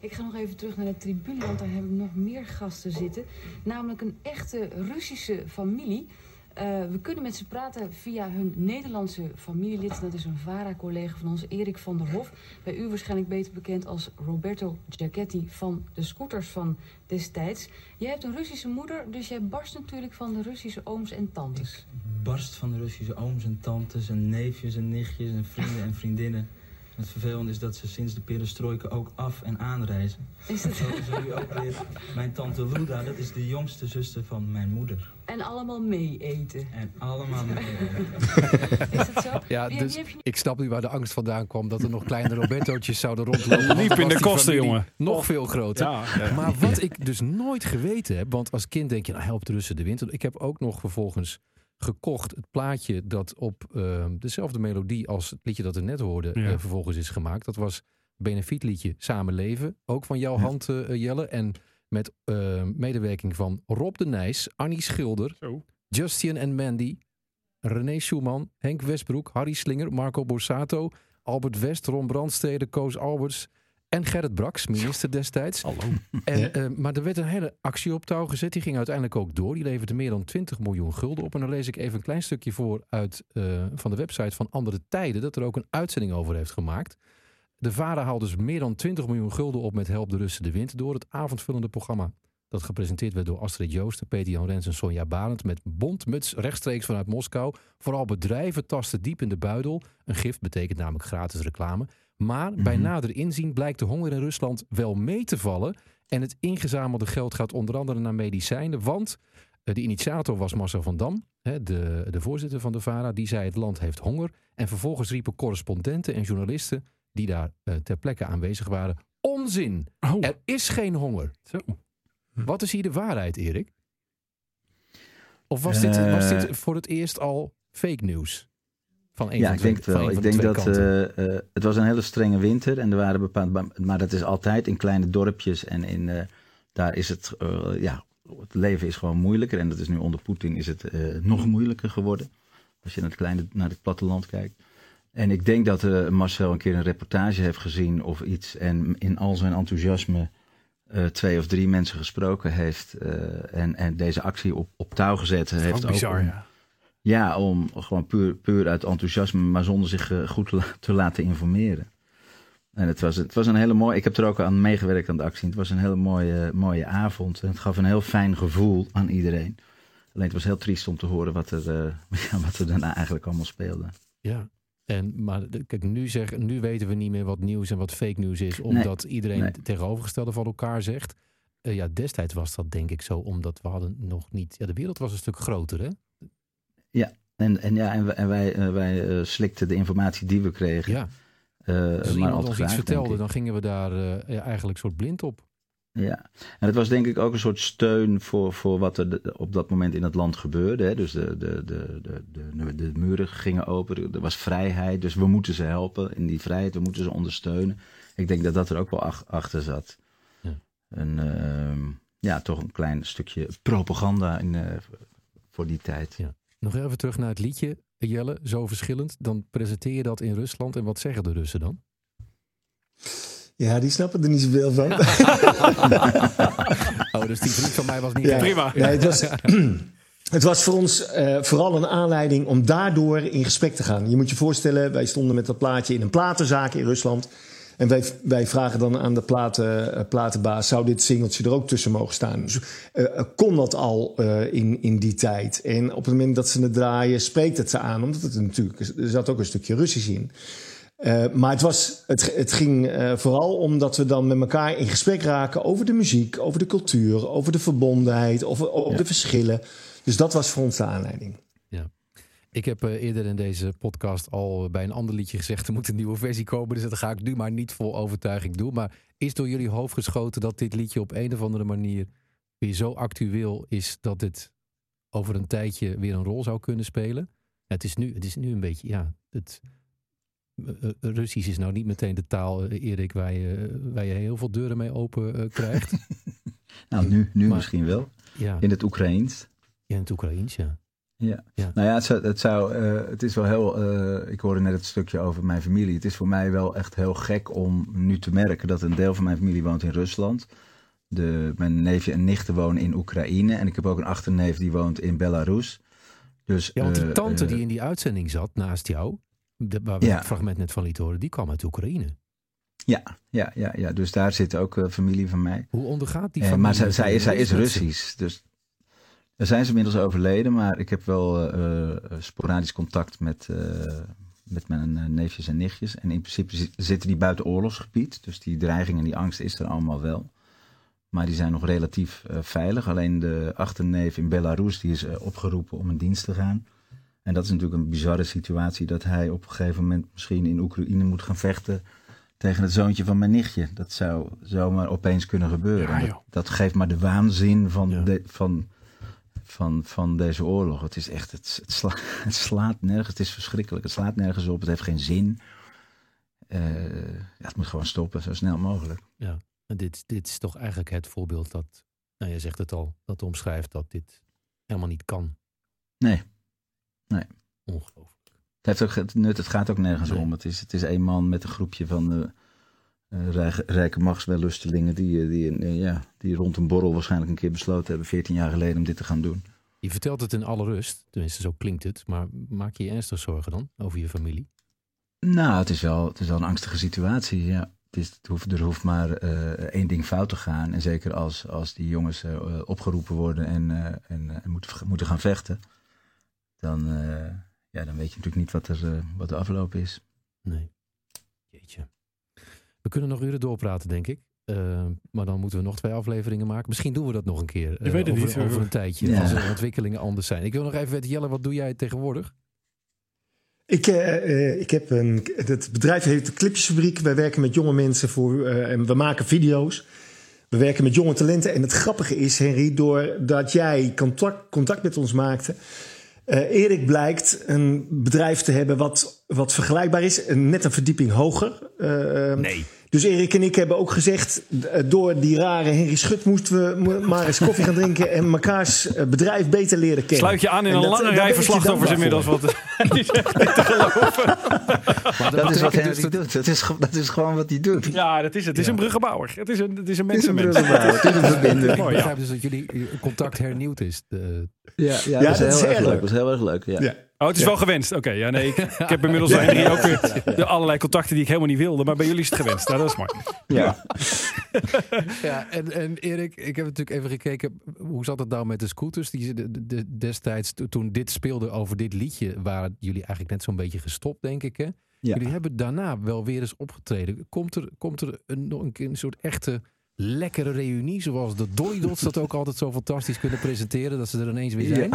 [SPEAKER 12] Ik ga nog even terug naar de tribune, want daar heb ik nog meer gasten zitten. Namelijk een echte Russische familie. Eh, we kunnen met ze praten via hun Nederlandse familielid. Dat is een VARA-collega van ons, Erik van der Hof. Bij u waarschijnlijk beter bekend als Roberto Giacchetti van de scooters van destijds. Jij hebt een Russische moeder, dus jij barst natuurlijk van de Russische ooms en tantes.
[SPEAKER 13] barst van de Russische ooms en tantes en neefjes en nichtjes en vrienden en vriendinnen. En het vervelende is dat ze sinds de perestroika ook af- en aanreizen.
[SPEAKER 12] Is het-
[SPEAKER 13] Zo is er nu ook weer mijn tante Luda, dat is de jongste zuster van mijn moeder.
[SPEAKER 12] En allemaal mee eten.
[SPEAKER 13] En
[SPEAKER 12] (laughs)
[SPEAKER 13] allemaal mee.
[SPEAKER 12] Is dat zo?
[SPEAKER 4] Ja,
[SPEAKER 12] Wie- wie
[SPEAKER 4] dus
[SPEAKER 12] heb je
[SPEAKER 4] ik snap nu waar de angst vandaan kwam dat er nog kleine Robertootjes zouden rondlopen. want
[SPEAKER 3] Liep
[SPEAKER 4] dan
[SPEAKER 3] in
[SPEAKER 4] was
[SPEAKER 3] de
[SPEAKER 4] die
[SPEAKER 3] kosten,
[SPEAKER 4] familie
[SPEAKER 3] jongen.
[SPEAKER 4] Nog veel groter.
[SPEAKER 3] Ja, ja.
[SPEAKER 4] Maar wat ik dus nooit geweten heb, want als kind denk je, nou helpt de Russen de winter. Ik heb ook nog vervolgens gekocht het plaatje dat op eh, dezelfde melodie als het liedje dat we net hoorden
[SPEAKER 3] Ja.
[SPEAKER 4] eh, vervolgens is gemaakt. Dat was benefietliedje Samen Leven, ook van jouw hand eh, eh, Jelle. En met eh, medewerking van Rob de Nijs, Annie Schilder,
[SPEAKER 3] Zo.
[SPEAKER 4] Justin en Mandy, René Schumann, Henk Westbroek, Harry Slinger, Marco Borsato, Albert West, Ron Brandstede, Koos Alberts en Gerrit Braks, minister destijds. En, eh, maar er werd een hele actie op touw gezet. Die ging uiteindelijk ook door. Die leverde meer dan 20 miljoen gulden op. En dan lees ik even een klein stukje voor uit, eh, van de website van Andere Tijden. Dat er ook een uitzending over heeft gemaakt. De VARA haalde dus meer dan 20 miljoen gulden op met Help de Russen de Wind. Door het avondvullende programma. Dat gepresenteerd werd door Astrid Joosten, Peter Jan Rens en Sonja Barend. Met bondmuts rechtstreeks vanuit Moskou. Vooral bedrijven tasten diep in de buidel. Een gift betekent namelijk gratis reclame. Maar bij nader inzien blijkt de honger in Rusland wel mee te vallen. En het ingezamelde geld gaat onder andere naar medicijnen. Want eh, de initiator was Marcel van Dam, hè, de, de voorzitter van de VARA. Die zei het land heeft honger. En vervolgens riepen correspondenten en journalisten die daar eh, ter plekke aanwezig waren. Onzin!
[SPEAKER 3] Oh,
[SPEAKER 4] Er is geen honger.
[SPEAKER 3] zo.
[SPEAKER 4] Wat is hier de waarheid, Erik? Of was dit, was
[SPEAKER 8] Eh.
[SPEAKER 4] dit voor het eerst al fake nieuws? Van een
[SPEAKER 8] ja,
[SPEAKER 4] van
[SPEAKER 8] ik
[SPEAKER 4] de-
[SPEAKER 8] denk het
[SPEAKER 4] van
[SPEAKER 8] wel.
[SPEAKER 4] een
[SPEAKER 8] Ik
[SPEAKER 4] van de
[SPEAKER 8] denk
[SPEAKER 4] twee
[SPEAKER 8] dat
[SPEAKER 4] kanten?
[SPEAKER 8] eh, eh, het was een hele strenge winter en er waren bepaalde, maar dat is altijd in kleine dorpjes en in eh, daar is het, eh, ja, het leven is gewoon moeilijker en dat is nu onder Poetin is het eh, nog moeilijker geworden als je naar het kleine, naar het platteland kijkt. En ik denk dat eh, Marcel een keer een reportage heeft gezien of iets en in al zijn enthousiasme eh, twee of drie mensen gesproken heeft eh, en, en deze actie op, op touw gezet heeft.
[SPEAKER 3] Ook oh, bizar,
[SPEAKER 8] om-
[SPEAKER 3] ja.
[SPEAKER 8] ja, om gewoon puur, puur uit enthousiasme, maar zonder zich eh, goed te la- te laten informeren. En het was, het was een hele mooie, ik heb er ook aan meegewerkt aan de actie. Het was een hele mooie, mooie avond en het gaf een heel fijn gevoel aan iedereen. Alleen het was heel triest om te horen wat er, eh, (laughs) ja, wat er daarna eigenlijk allemaal speelde.
[SPEAKER 4] Ja. En, maar de- kijk, nu, zeg, nu weten we niet meer wat nieuws en wat fake nieuws is. Omdat iedereen
[SPEAKER 8] Nee.
[SPEAKER 4] het tegenovergestelde van elkaar zegt. Eh, ja, destijds was dat denk ik zo, omdat we hadden nog niet... Ja, de wereld was een stuk groter, hè?
[SPEAKER 8] En, en, ja, en, wij- en wij, eh, wij eh, slikten de informatie die we kregen.
[SPEAKER 4] Ja.
[SPEAKER 8] eh,
[SPEAKER 4] Als
[SPEAKER 8] maar
[SPEAKER 4] iemand
[SPEAKER 8] al
[SPEAKER 4] ons
[SPEAKER 8] te graag,
[SPEAKER 4] iets
[SPEAKER 8] denk
[SPEAKER 4] vertelde,
[SPEAKER 8] ik.
[SPEAKER 4] dan gingen we daar eh, ja, eigenlijk soort blind op.
[SPEAKER 8] Ja, en het was denk ik ook een soort steun voor, voor wat er de- op dat moment in het land gebeurde. Hè. Dus de, de, de, de, de, de muren gingen open, er- er was vrijheid. Dus we moeten ze helpen in die vrijheid, we moeten ze ondersteunen. Ik denk dat dat er ook wel ach- achter zat.
[SPEAKER 4] Ja.
[SPEAKER 8] Een, ehm, ja, toch een klein stukje propaganda in, eh, voor die tijd.
[SPEAKER 4] Nog even terug naar het liedje, Jelle, zo verschillend. Dan presenteer je dat in Rusland. En wat zeggen de Russen dan?
[SPEAKER 9] Ja, die snappen er niet zoveel van.
[SPEAKER 4] Oh, dus die vriend van mij was niet...
[SPEAKER 9] Ja.
[SPEAKER 3] Prima.
[SPEAKER 9] Nee, het, was, (clears throat) het was voor ons eh, vooral een aanleiding om daardoor in gesprek te gaan. Je moet je voorstellen, wij stonden met dat plaatje in een platenzaak in Rusland. En wij, wij vragen dan aan de platen, eh, platenbaas: zou dit singeltje er ook tussen mogen staan? Dus, eh, eh, kon dat al eh, in, in die tijd? En op het moment dat ze het draaien, spreekt het ze aan, omdat het natuurlijk, er zat ook een stukje Russisch in. Eh, maar het, was, het, het ging eh, vooral omdat we dan met elkaar in gesprek raken over de muziek, over de cultuur, over de verbondenheid, over, over de verschillen. Dus dat was voor ons de aanleiding.
[SPEAKER 4] Ik heb eh, eerder in deze podcast al bij een ander liedje gezegd... er moet een nieuwe versie komen, dus dat ga ik nu maar niet vol overtuiging doen. Maar is door jullie hoofd geschoten dat dit liedje op een of andere manier... weer zo actueel is dat het over een tijdje weer een rol zou kunnen spelen? Het is nu, het is nu een beetje, ja... Het, eh, eh, Russisch is nou niet meteen de taal, eh, Erik, waar je, waar je heel veel deuren mee open eh, krijgt.
[SPEAKER 8] Nou, nu, nu misschien wel.
[SPEAKER 4] Ja.
[SPEAKER 8] In het Oekraïens.
[SPEAKER 4] Ja, in het Oekraïens, ja.
[SPEAKER 8] Ja.
[SPEAKER 4] Ja.
[SPEAKER 8] Nou ja, het zou, het, zou, eh, het is wel heel. eh, ik hoorde net het stukje over mijn familie. Het is voor mij wel echt heel gek om nu te merken dat een deel van mijn familie woont in Rusland. De, mijn neefje en nichten wonen in Oekraïne. En ik heb ook een achterneef die woont in Belarus. Dus,
[SPEAKER 4] Ja, want die
[SPEAKER 8] eh,
[SPEAKER 4] tante
[SPEAKER 8] eh,
[SPEAKER 4] die in die uitzending zat naast jou, de, waar we
[SPEAKER 8] Ja.
[SPEAKER 4] het fragment net van lieten horen, die kwam uit Oekraïne.
[SPEAKER 8] Ja, ja, ja, ja, dus daar zit ook eh, familie van mij.
[SPEAKER 4] Hoe ondergaat die
[SPEAKER 8] Eh,
[SPEAKER 4] familie?
[SPEAKER 8] maar zij, zij, is- zij is
[SPEAKER 4] Mensen?
[SPEAKER 8] Russisch. Dus daar zijn ze inmiddels overleden. Maar ik heb wel eh, eh, sporadisch contact met, eh, met mijn eh, neefjes en nichtjes. En in principe zi- zitten die buiten oorlogsgebied. Dus die dreiging en die angst is er allemaal wel. Maar die zijn nog relatief eh, veilig. Alleen de achterneef in Belarus die is eh, opgeroepen om in dienst te gaan. En dat is natuurlijk een bizarre situatie. Dat hij op een gegeven moment misschien in Oekraïne moet gaan vechten. Tegen het zoontje van mijn nichtje. Dat zou zomaar opeens kunnen gebeuren.
[SPEAKER 3] Ja,
[SPEAKER 8] En dat,
[SPEAKER 3] joh.
[SPEAKER 8] dat geeft maar de waanzin van, de- van, van, van deze oorlog. Het is echt, het, het, sla- (laughs) het slaat nergens. Het is verschrikkelijk. Het slaat nergens op. Het heeft geen zin. Eh, ja, het moet gewoon stoppen, zo snel mogelijk.
[SPEAKER 4] Ja, en dit, dit is toch eigenlijk het voorbeeld dat, nou je zegt het al, dat omschrijft dat dit helemaal niet kan.
[SPEAKER 8] Nee. Nee.
[SPEAKER 4] Ongelooflijk.
[SPEAKER 8] Het heeft ook het nut, het gaat ook nergens om. Het is, het is één man met een groepje van eh, eh, rijke, rijke machtswellustelingen die, eh, die, eh, ja, die rond een borrel waarschijnlijk een keer besloten hebben, 14 jaar geleden, om dit te gaan doen.
[SPEAKER 4] Je vertelt het in alle rust, tenminste zo klinkt het, maar maak je je ernstig zorgen dan over je familie?
[SPEAKER 8] Nou, het is wel, het is wel een angstige situatie. Ja. Het is, het hoeft, er hoeft maar eh, één ding fout te gaan. En zeker als, als die jongens eh, opgeroepen worden en, eh, en, eh, en moeten, moeten gaan vechten. Dan, eh, ja, dan weet je natuurlijk niet wat, er, eh, wat de afloop is.
[SPEAKER 4] Nee. Jeetje. We kunnen nog uren doorpraten, denk ik. Eh, maar dan moeten we nog twee afleveringen maken. Misschien doen we dat nog een keer. eh,
[SPEAKER 3] Ik weet het
[SPEAKER 4] over,
[SPEAKER 3] niet.
[SPEAKER 4] over een tijdje.
[SPEAKER 8] Ja.
[SPEAKER 4] Als er ontwikkelingen anders zijn. Ik wil nog even weten, Jelle, wat doe jij tegenwoordig?
[SPEAKER 9] Ik, eh, eh, ik heb een, het bedrijf heeft de Clipjesfabriek. Wij werken met jonge mensen voor, eh, en we maken video's. We werken met jonge talenten. En het grappige is, Henry, doordat jij contact, contact met ons maakte. eh, Erik blijkt een bedrijf te hebben wat, wat vergelijkbaar is. een- Net een verdieping hoger. nee. Dus Erik en ik hebben ook gezegd... eh, door die rare Henry Schut moesten we mo- maar eens koffie gaan drinken... en mekaars eh, bedrijf beter leren kennen.
[SPEAKER 3] Sluit je aan in
[SPEAKER 9] En
[SPEAKER 3] een
[SPEAKER 9] dat-
[SPEAKER 3] lange
[SPEAKER 9] daar ben
[SPEAKER 3] rij
[SPEAKER 9] ik
[SPEAKER 3] van
[SPEAKER 9] je
[SPEAKER 3] slachtoffers
[SPEAKER 9] dankbaar
[SPEAKER 3] inmiddels.
[SPEAKER 9] voor.
[SPEAKER 3] Want (laughs) die is echt niet te geloven.
[SPEAKER 4] Maar
[SPEAKER 8] Dat is wat
[SPEAKER 4] betekent
[SPEAKER 8] hij
[SPEAKER 4] dus dat-
[SPEAKER 8] doet. Dat is, ge- dat is gewoon wat hij doet.
[SPEAKER 3] Ja, dat is het. Het is een bruggenbouwer. Het is een, het is een
[SPEAKER 8] Het is een
[SPEAKER 3] mensenmens.
[SPEAKER 8] brullenbouw, het is een verbinder.
[SPEAKER 4] Ik
[SPEAKER 3] Mooi, ja.
[SPEAKER 4] begrijp dus dat jullie contact hernieuwd is. eh, De-
[SPEAKER 8] Ja,
[SPEAKER 9] Ja,
[SPEAKER 8] ja, dat is heel erg leuk. Dat is heel erg leuk, ja.
[SPEAKER 9] Ja.
[SPEAKER 3] Oh, het is wel gewenst. Oké, ja, nee. Ik, ik heb
[SPEAKER 4] (laughs)
[SPEAKER 3] inmiddels bij Henry ook weer de allerlei contacten die ik helemaal niet wilde. Maar bij jullie is het gewenst. Nou, dat is mooi.
[SPEAKER 8] Ja.
[SPEAKER 4] Ja, en, en Erik, ik heb natuurlijk even gekeken. Hoe zat het nou met de scooters? Die, de- de- de- destijds, to- toen dit speelde over dit liedje, waren jullie eigenlijk net zo'n beetje gestopt, denk ik. Hè?
[SPEAKER 8] Ja.
[SPEAKER 4] Jullie hebben daarna wel weer eens opgetreden. Komt er, komt er een, nog een, keer een soort echte lekkere reunie, zoals de Dolly Dots dat ook altijd zo fantastisch kunnen presenteren, dat ze er ineens weer zijn?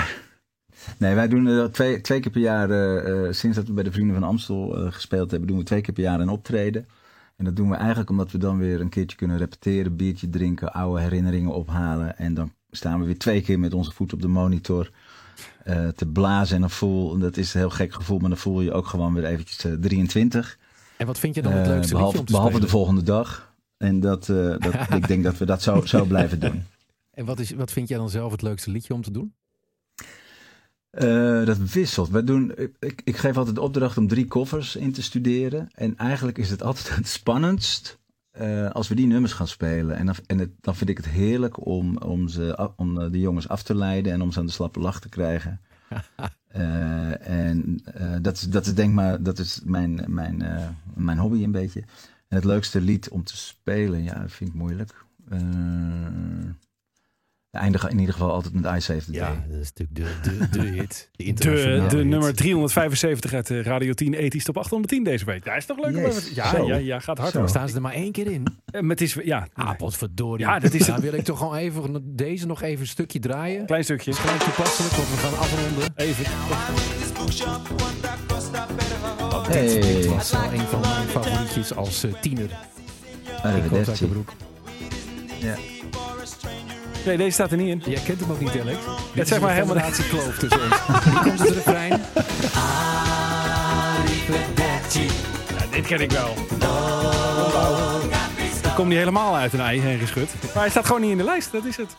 [SPEAKER 8] Nee, wij doen eh, dat twee, twee keer per jaar, eh, eh, sinds dat we bij de Vrienden van Amstel eh, gespeeld hebben, doen we twee keer per jaar een optreden. En dat doen we eigenlijk omdat we dan weer een keertje kunnen repeteren, biertje drinken, oude herinneringen ophalen. En dan staan we weer twee keer met onze voet op de monitor eh, te blazen. En dan voel, en dat is een heel gek gevoel, maar dan voel je ook gewoon weer eventjes eh, 23.
[SPEAKER 4] En wat vind je dan het
[SPEAKER 8] Eh,
[SPEAKER 4] leukste
[SPEAKER 8] behalve,
[SPEAKER 4] liedje om te
[SPEAKER 8] behalve de
[SPEAKER 4] spelen?
[SPEAKER 8] volgende dag. En dat, eh,
[SPEAKER 4] (laughs)
[SPEAKER 8] dat, ik denk dat we dat zo, zo blijven doen.
[SPEAKER 4] En wat, is, wat vind jij dan zelf het leukste liedje om te doen?
[SPEAKER 8] Eh, dat wisselt. Wij doen, ik- ik, ik geef altijd de opdracht om drie koffers in te studeren. En eigenlijk is het altijd het spannendst eh, als we die nummers gaan spelen. En, dan, en het- dan vind ik het heerlijk om, om, ze, af- om eh, de jongens af te leiden en om ze aan de slappe lach te
[SPEAKER 4] (laughs)
[SPEAKER 8] krijgen. Eh, en eh, dat, is, dat is denk maar, dat is mijn, mijn, eh, mijn hobby een beetje. En het leukste lied om te spelen, ja, dat vind ik moeilijk. Eh we eindigen in ieder geval altijd met I Save the Day.
[SPEAKER 4] Ja, dat is natuurlijk de, de, de hit.
[SPEAKER 3] De,
[SPEAKER 4] De, internationale
[SPEAKER 3] de
[SPEAKER 4] hit.
[SPEAKER 3] nummer 375 uit eh, Radio 10 ethisch top 810 deze week. Ja, is toch leuk? om
[SPEAKER 4] Yes.
[SPEAKER 3] even- Ja,
[SPEAKER 4] Zo.
[SPEAKER 3] ja, ja, gaat hard.
[SPEAKER 4] Zo.
[SPEAKER 3] hoor.
[SPEAKER 4] Staan ze er maar één keer
[SPEAKER 8] (laughs)
[SPEAKER 4] in?
[SPEAKER 3] Eh, maar het is, ja.
[SPEAKER 4] Ah, potverdorie.
[SPEAKER 3] Ja, dat is het.
[SPEAKER 4] Dan wil ik toch gewoon even deze nog even een stukje draaien.
[SPEAKER 3] Klein stukje.
[SPEAKER 4] Is gelijk toepasselijk, want we gaan afronden.
[SPEAKER 3] Even.
[SPEAKER 4] Dit, dit
[SPEAKER 8] Hey.
[SPEAKER 4] was wel een van mijn favorietjes als eh, tiener. Ik kwam uit
[SPEAKER 8] Arrivederci.
[SPEAKER 4] de broek.
[SPEAKER 8] Ja.
[SPEAKER 3] Nee, deze staat er niet in.
[SPEAKER 4] Jij kent hem ook niet, Alex.
[SPEAKER 3] Het zeg maar helemaal
[SPEAKER 4] de kloof tussen ons. Hier komt het refrein.
[SPEAKER 3] Ja, dit ken ik wel. Ik kom niet helemaal uit een ei heen geschud. Maar hij staat gewoon niet in de lijst, dat is het.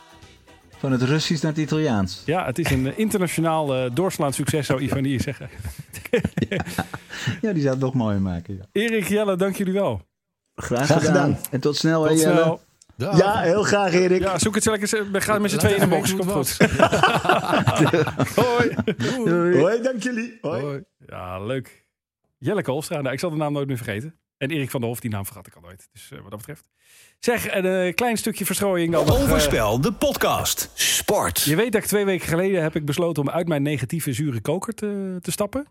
[SPEAKER 8] Van het Russisch naar het Italiaans.
[SPEAKER 3] Ja, het is een eh, internationaal eh, doorslaand succes, zou Ivan hier zeggen.
[SPEAKER 8] Ja, die zou het nog mooier maken. Ja.
[SPEAKER 3] Erik, Jelle, dank jullie wel.
[SPEAKER 8] Graag,
[SPEAKER 9] Graag
[SPEAKER 8] gedaan.
[SPEAKER 9] gedaan.
[SPEAKER 8] En tot snel.
[SPEAKER 3] Tot
[SPEAKER 8] hè, Jelle.
[SPEAKER 3] snel.
[SPEAKER 9] Ja, heel graag Erik.
[SPEAKER 3] Ja, zoek het zo lekker. eens- We gaan met z'n
[SPEAKER 4] Laat
[SPEAKER 3] tweeën in de
[SPEAKER 4] even
[SPEAKER 3] box.
[SPEAKER 4] weten
[SPEAKER 3] Komt
[SPEAKER 4] hoe
[SPEAKER 3] goed.
[SPEAKER 4] het
[SPEAKER 3] Hoi.
[SPEAKER 9] Hoi, dank jullie. Hoi.
[SPEAKER 4] Hoi.
[SPEAKER 3] Ja, leuk. Jelle Koolstra, nou, ik zal de naam nooit meer vergeten. En Erik van der Hof, die naam vergat ik al nooit. Dus eh, wat dat betreft. Zeg, een eh, klein stukje verstrooiing dan nog. eh,
[SPEAKER 1] Overspel, de podcast.
[SPEAKER 2] Sport.
[SPEAKER 3] je weet dat ik twee weken geleden heb ik besloten om uit mijn negatieve zure koker te, te stappen.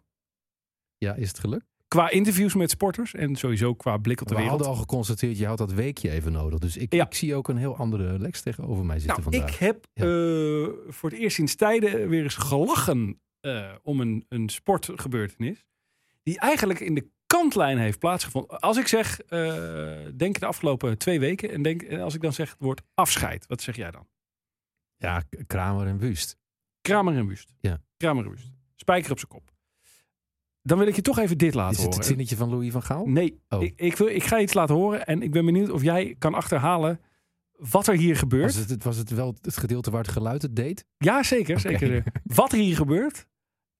[SPEAKER 4] Ja, is het gelukt?
[SPEAKER 3] Qua interviews met sporters en sowieso qua blik op de
[SPEAKER 4] We
[SPEAKER 3] wereld.
[SPEAKER 4] hadden al geconstateerd, je had dat weekje even nodig. Dus ik,
[SPEAKER 3] Ja.
[SPEAKER 4] ik zie ook een heel andere Lex tegenover mij zitten
[SPEAKER 3] Nou,
[SPEAKER 4] vandaag.
[SPEAKER 3] ik heb
[SPEAKER 4] Ja.
[SPEAKER 3] eh, voor het eerst sinds tijden eh, weer eens gelachen eh, om een, een sportgebeurtenis. Die eigenlijk in de kantlijn heeft plaatsgevonden. Als ik zeg, eh, denk de afgelopen twee weken. En, denk, en als ik dan zeg het woord afscheid, wat zeg jij dan?
[SPEAKER 4] Ja, K- Kramer en Wust.
[SPEAKER 3] Kramer en Wust.
[SPEAKER 4] Ja.
[SPEAKER 3] Kramer en Wust. Spijker op zijn kop. Dan wil ik je toch even dit laten
[SPEAKER 4] Is het het
[SPEAKER 3] horen.
[SPEAKER 4] zinnetje van Louis van Gaal?
[SPEAKER 3] Nee,
[SPEAKER 4] Oh.
[SPEAKER 3] ik, ik, wil, ik ga iets laten horen. En ik ben benieuwd of jij kan achterhalen wat er hier gebeurt.
[SPEAKER 4] Was het, het- was het wel het gedeelte waar het geluid het deed?
[SPEAKER 3] Ja, zeker.
[SPEAKER 4] Oké.
[SPEAKER 3] zeker. Wat er hier gebeurt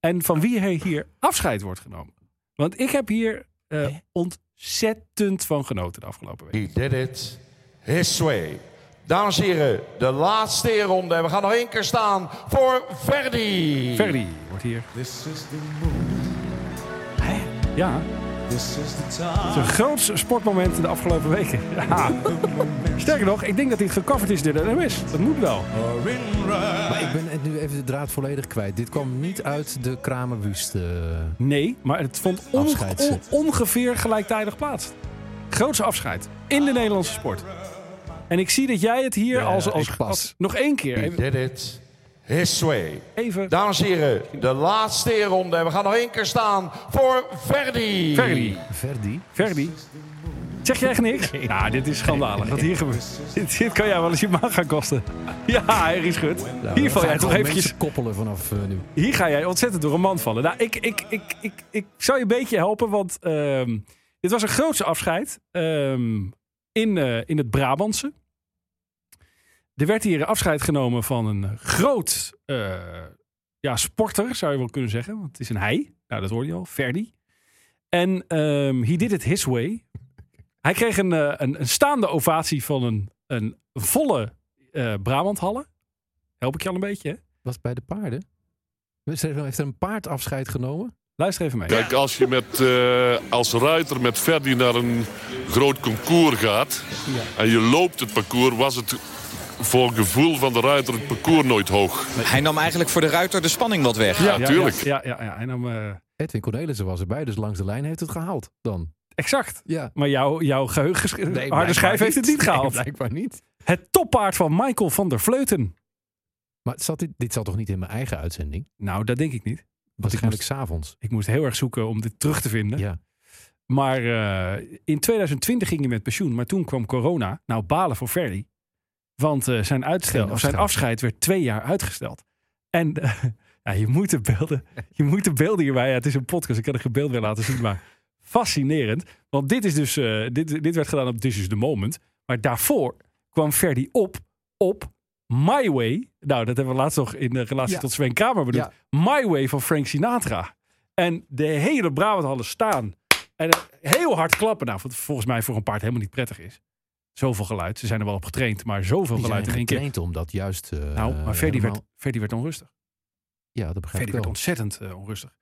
[SPEAKER 3] en van wie er hier afscheid wordt genomen. Want ik heb hier eh, ontzettend van genoten de afgelopen week.
[SPEAKER 11] He did it his way. Dames en heren, de laatste ronde. En we gaan nog één keer staan voor Verdi.
[SPEAKER 3] Verdi wordt hier.
[SPEAKER 7] This is the mood.
[SPEAKER 3] Ja,
[SPEAKER 7] This is the
[SPEAKER 3] het is
[SPEAKER 7] time.
[SPEAKER 3] een groot sportmoment de afgelopen weken. Ja. Sterker nog, ik denk dat dit gecoverd is door de NMS. Dat moet wel.
[SPEAKER 4] Maar ik ben het nu even de draad volledig kwijt. Dit kwam niet uit de Kramer Wust.
[SPEAKER 3] Oh
[SPEAKER 4] eh,
[SPEAKER 3] Nee, maar het vond on-
[SPEAKER 4] Afscheid,
[SPEAKER 3] on-
[SPEAKER 4] zit.
[SPEAKER 3] ongeveer gelijktijdig plaats. Grootse afscheid in de Nederlandse sport. En ik zie dat jij het hier
[SPEAKER 4] Ja,
[SPEAKER 3] als, als,
[SPEAKER 4] ik pas.
[SPEAKER 3] als- Nog één keer.
[SPEAKER 11] He
[SPEAKER 3] Even,
[SPEAKER 11] did it his way.
[SPEAKER 3] even
[SPEAKER 11] Dames en heren, de laatste ronde. En we gaan nog één keer staan voor Verdi.
[SPEAKER 3] Verdi.
[SPEAKER 4] Verdi.
[SPEAKER 3] Verdi. Zeg jij echt niks? Nou, dit is schandalig wat hier gebeurt. Dit, (laughs) dit kan jou wel eens je baan gaan kosten. Ja, Erik Schut. Hier val jij toch
[SPEAKER 4] Nou, Gewoon
[SPEAKER 3] eventjes...
[SPEAKER 4] mensen koppelen vanaf eh, nu.
[SPEAKER 3] Hier ga jij ontzettend door een mand vallen. Nou, ik, ik, ik, ik, ik zou je een beetje helpen, want ehm, dit was een grootse afscheid ehm, in, eh, in het Brabantse. Er werd hier afscheid genomen van een groot eh, ja, sporter, zou je wel kunnen zeggen. Want het is een hij. Nou, dat hoorde je al. Verdi. En ehm he did it his way. Hij kreeg een, eh, een, een staande ovatie van een, een volle eh Brabanthallen. Help ik je al een beetje, hè?
[SPEAKER 4] Was het bij de paarden? Heeft er een paard afscheid genomen?
[SPEAKER 3] Luister even mee.
[SPEAKER 14] Kijk, als je met, eh, als ruiter met Verdi naar een groot concours gaat en je loopt het parcours, was het voor het gevoel van de ruiter het parcours nooit hoog.
[SPEAKER 15] Hij nam eigenlijk voor de ruiter de spanning wat weg.
[SPEAKER 14] Ja, tuurlijk.
[SPEAKER 3] Ja, ja, ja. En dan, eh,
[SPEAKER 4] Edwin Cornelissen was erbij, dus langs de lijn heeft het gehaald dan.
[SPEAKER 3] exact.
[SPEAKER 4] Ja.
[SPEAKER 3] Maar jouw, jouw geheugen, harde schijf heeft het niet (laughs) gehaald.
[SPEAKER 4] blijkbaar niet.
[SPEAKER 3] het toppaard van Michael van der Vleuten.
[SPEAKER 4] Maar zat dit, dit zat toch niet in mijn eigen uitzending?
[SPEAKER 3] Nou, dat denk ik niet.
[SPEAKER 4] Waarschijnlijk
[SPEAKER 3] moest-
[SPEAKER 4] s'avonds.
[SPEAKER 3] Ik moest heel erg zoeken om dit terug te vinden.
[SPEAKER 4] Ja.
[SPEAKER 3] Maar eh, in 2020 ging hij met pensioen, maar toen kwam corona. Nou, balen voor Ferry. Want eh, zijn, uitstel,
[SPEAKER 4] Geen
[SPEAKER 3] of zijn
[SPEAKER 4] afscheid.
[SPEAKER 3] afscheid werd twee jaar uitgesteld. En (laughs) eh, ja, je, moet de beelden, je moet de beelden hierbij. Ja, het is een podcast, ik kan er geen beeld weer laten zien. Maar fascinerend. Want dit, is dus, eh, dit, dit werd gedaan op This is the Moment. Maar daarvoor kwam Ferdy op, op My Way. Nou, dat hebben we laatst nog in de relatie
[SPEAKER 4] Ja.
[SPEAKER 3] tot Sven Kramer bedoeld. My Way van Frank Sinatra. En de hele Brabant hadden staan. En heel hard klappen. Nou, wat volgens mij voor een paard helemaal niet prettig is. Zoveel geluid. Ze zijn er wel op getraind, maar zoveel
[SPEAKER 4] Die zijn
[SPEAKER 3] geluid in één keer.
[SPEAKER 4] getraind om dat juist... eh,
[SPEAKER 3] Nou, maar Ferdy
[SPEAKER 4] helemaal-
[SPEAKER 3] werd, Ferdy werd onrustig.
[SPEAKER 4] Ja, dat begrijp
[SPEAKER 3] Ferdy
[SPEAKER 4] ik wel.
[SPEAKER 3] werd ontzettend eh, onrustig.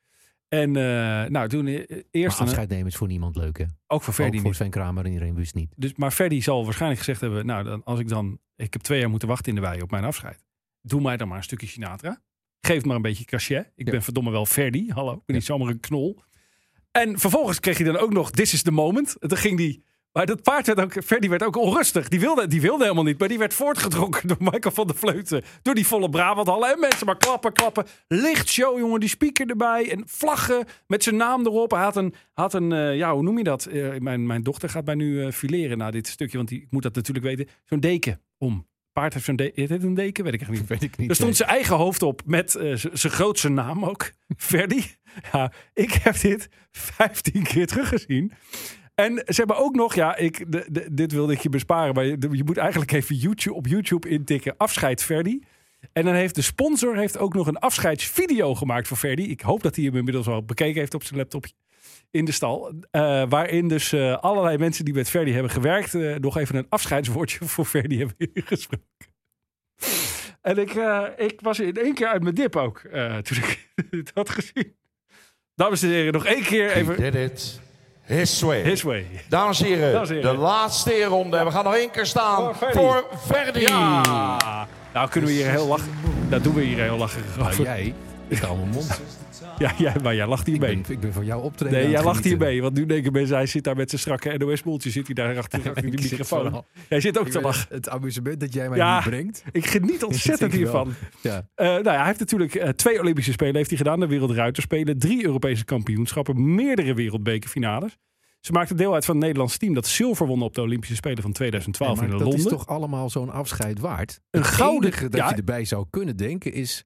[SPEAKER 3] En eh, nou, toen e- eerst...
[SPEAKER 4] Maar afscheid nemen is voor niemand leuk, hè?
[SPEAKER 3] Ook voor Verdi
[SPEAKER 4] Ook voor
[SPEAKER 3] niet.
[SPEAKER 4] Sven Kramer en iedereen wist niet.
[SPEAKER 3] Dus, maar Ferdi zal waarschijnlijk gezegd hebben... Nou, dan, als ik dan... Ik heb twee jaar moeten wachten in de wei op mijn afscheid. Doe mij dan maar een stukje Sinatra. Geef maar een beetje cachet. Ik ben verdomme wel Ferdi. Hallo, ik ben niet zomaar een knol. En vervolgens kreeg hij dan ook nog This is the moment. En toen ging die... Maar dat paard werd ook... Ferdi werd ook onrustig. Die wilde, die wilde helemaal niet. Maar die werd voortgedronken door Michael van der Vleuten. Door die volle Brabanthal. En mensen maar klappen, klappen. Lichtshow, jongen. Die speaker erbij. En vlaggen met zijn naam erop. Hij had een... Had een eh, ja, hoe noem je dat? Eh, mijn, mijn dochter gaat mij nu eh fileren na dit stukje. Want die, ik moet dat natuurlijk weten. Zo'n deken om. Paard heeft zo'n deken. Is dit een deken? Weet ik echt niet.
[SPEAKER 4] Weet ik niet.
[SPEAKER 3] Er stond
[SPEAKER 4] nee.
[SPEAKER 3] zijn eigen hoofd op met eh, z- zijn grootste naam ook. (laughs) Verdi. Ja, ik heb dit 15 keer teruggezien. En ze hebben ook nog, ja, ik, de- de- dit wilde ik je besparen, maar je, je moet eigenlijk even YouTube, op YouTube intikken. Afscheid Verdi. En dan heeft de sponsor heeft ook nog een afscheidsvideo gemaakt voor Verdi. Ik hoop dat hij hem inmiddels al bekeken heeft op zijn laptopje in de stal. eh, waarin dus eh, allerlei mensen die met Verdi hebben gewerkt, eh, nog even een afscheidswoordje voor Verdi hebben ingesproken. En ik, eh, ik was in één keer uit mijn dip ook eh, toen ik (laughs) dit had gezien. Dames en heren, nog één keer even.
[SPEAKER 11] did it his way.
[SPEAKER 3] His way.
[SPEAKER 11] Dames en heren,
[SPEAKER 3] Dames en heren.
[SPEAKER 11] de laatste ronde. We gaan nog één keer staan
[SPEAKER 4] Oh,
[SPEAKER 11] voor Verdi.
[SPEAKER 3] Ja. Nou kunnen we hier heel lachen. Dat doen we hier heel lachen.
[SPEAKER 4] Nou, jij, ik hou mijn mond.
[SPEAKER 3] Ja, jij, maar jij lacht hierbij.
[SPEAKER 4] (laughs) Ik ben van jou optreden.
[SPEAKER 3] Nee,
[SPEAKER 4] aan
[SPEAKER 3] jij
[SPEAKER 4] het
[SPEAKER 3] lacht
[SPEAKER 4] (laughs) genieten.
[SPEAKER 3] hierbij. Want nu denken mensen, hij zit daar met zijn strakke NOS-boeltje. Zit hij daar
[SPEAKER 4] (laughs)
[SPEAKER 3] achter, achter die
[SPEAKER 4] Ik zit
[SPEAKER 3] microfoon.
[SPEAKER 4] vooral-
[SPEAKER 3] Jij zit ook
[SPEAKER 4] Ik
[SPEAKER 3] te
[SPEAKER 4] ben-
[SPEAKER 3] lachen.
[SPEAKER 4] Het amusement dat jij mij
[SPEAKER 3] Ja.
[SPEAKER 4] nu
[SPEAKER 3] (laughs)
[SPEAKER 4] brengt.
[SPEAKER 3] Ik geniet ontzettend
[SPEAKER 4] (laughs) ik wel.
[SPEAKER 3] hiervan.
[SPEAKER 4] Ja.
[SPEAKER 3] Eh, nou ja, hij heeft natuurlijk eh, twee Olympische Spelen heeft hij gedaan. De Wereldruiterspelen, drie Europese kampioenschappen, meerdere wereldbekerfinales. Ze maakte deel uit van het Nederlands team dat zilver won op de Olympische Spelen van 2012
[SPEAKER 4] Ja, maar
[SPEAKER 3] in
[SPEAKER 4] dat
[SPEAKER 3] Londen.
[SPEAKER 4] is toch allemaal zo'n afscheid waard?
[SPEAKER 3] Een
[SPEAKER 4] het
[SPEAKER 3] gouden-
[SPEAKER 4] enige dat
[SPEAKER 3] ja.
[SPEAKER 4] je erbij zou kunnen denken is...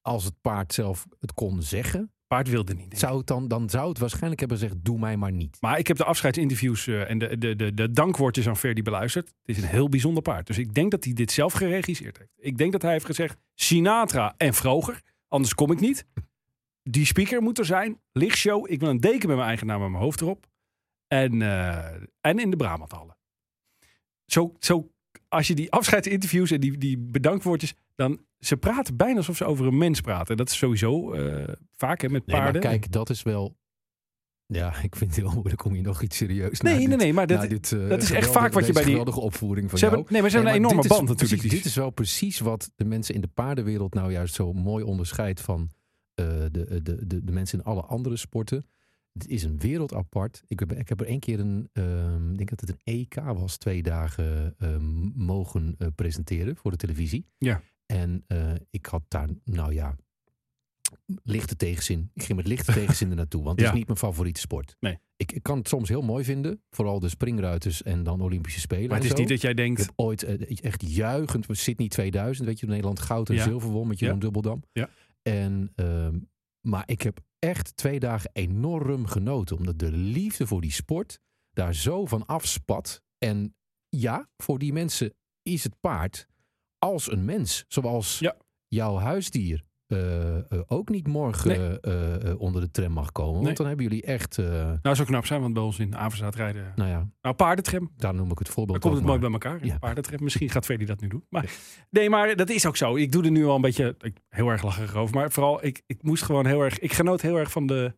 [SPEAKER 4] als het paard zelf het kon zeggen...
[SPEAKER 3] Paard wilde niet.
[SPEAKER 4] Zou het dan, dan zou het waarschijnlijk hebben gezegd... doe mij maar niet.
[SPEAKER 3] Maar ik heb de afscheidsinterviews eh, en de, de, de, de dankwoordjes aan Verdi beluisterd. Het is een heel bijzonder paard. Dus ik denk dat hij dit zelf geregisseerd heeft. Ik denk dat hij heeft gezegd: Sinatra en Vroger, anders kom ik niet. Die speaker moet er zijn. Lichtshow. Ik wil een deken met mijn eigen naam en mijn hoofd erop. En, eh, en in de Brabanthallen. Zo, zo, als je die afscheidsinterviews en die, die bedankwoordjes. dan. ze praten bijna alsof ze over een mens praten. Dat is sowieso eh, vaak hè, met
[SPEAKER 4] Nee, maar
[SPEAKER 3] paarden.
[SPEAKER 4] kijk, dat is wel... Ja, (laughs) ik vind het heel moeilijk om hier nog iets serieus
[SPEAKER 3] Nee,
[SPEAKER 4] na
[SPEAKER 3] nee,
[SPEAKER 4] dit-
[SPEAKER 3] nee, maar dat-
[SPEAKER 4] na dit, eh,
[SPEAKER 3] dat is echt
[SPEAKER 4] geweldige-
[SPEAKER 3] vaak wat je
[SPEAKER 4] deze
[SPEAKER 3] bij die-
[SPEAKER 4] geweldige opvoering van
[SPEAKER 3] Ze
[SPEAKER 4] jou.
[SPEAKER 3] hebben- nee, maar ze hebben een
[SPEAKER 4] maar
[SPEAKER 3] enorme
[SPEAKER 4] dit is
[SPEAKER 3] band natuurlijk,
[SPEAKER 4] precies-
[SPEAKER 3] die-
[SPEAKER 4] dit is wel precies wat de mensen in de paardenwereld nou juist zo mooi onderscheidt van eh, de, de, de, de mensen in alle andere sporten. Het is een wereld apart. Ik heb, ik heb er één keer een, ehm, ik denk dat het een EK was, twee dagen ehm, mogen eh, presenteren voor de televisie.
[SPEAKER 3] Ja.
[SPEAKER 4] En eh, ik had daar, nou ja, lichte tegenzin. Ik ging met lichte tegenzin er naartoe,
[SPEAKER 3] (laughs)
[SPEAKER 4] want het
[SPEAKER 3] Ja.
[SPEAKER 4] is niet mijn favoriete sport.
[SPEAKER 3] Nee.
[SPEAKER 4] Ik, ik kan het soms heel mooi vinden, vooral de springruiters en dan Olympische Spelen.
[SPEAKER 3] Maar het
[SPEAKER 4] en
[SPEAKER 3] is
[SPEAKER 4] zo.
[SPEAKER 3] niet dat jij denkt-
[SPEAKER 4] Ik heb ooit eh, echt juichend, Sydney 2000, weet je, Nederland goud en
[SPEAKER 3] Ja.
[SPEAKER 4] zilver won met
[SPEAKER 3] Ja.
[SPEAKER 4] Jeroen Dubbeldam.
[SPEAKER 3] Ja.
[SPEAKER 4] En, ehm, maar ik heb echt twee dagen enorm genoten, omdat de liefde voor die sport daar zo van afspat. En ja, voor die mensen is het paard als een mens. Zoals jouw huisdier eh, eh, ook niet morgen eh, eh, eh, onder de tram mag komen.
[SPEAKER 3] Nee.
[SPEAKER 4] Want dan hebben jullie echt, eh,
[SPEAKER 3] Nou, zou knap zijn, want bij ons in Averstaat rijden.
[SPEAKER 4] nou ja,
[SPEAKER 3] Nou, paardentram.
[SPEAKER 4] daar noem ik het voorbeeld
[SPEAKER 3] Dan komt het
[SPEAKER 4] ook
[SPEAKER 3] mooi
[SPEAKER 4] maar.
[SPEAKER 3] bij elkaar.
[SPEAKER 4] Ja.
[SPEAKER 3] Ja. Paardentrip. Misschien gaat Freddy dat nu doen. Maar, Nee, maar dat is ook zo. Ik doe er nu al een beetje ik, heel erg lacherig over. Maar vooral, ik, ik moest gewoon heel erg... Ik genoot heel erg van de,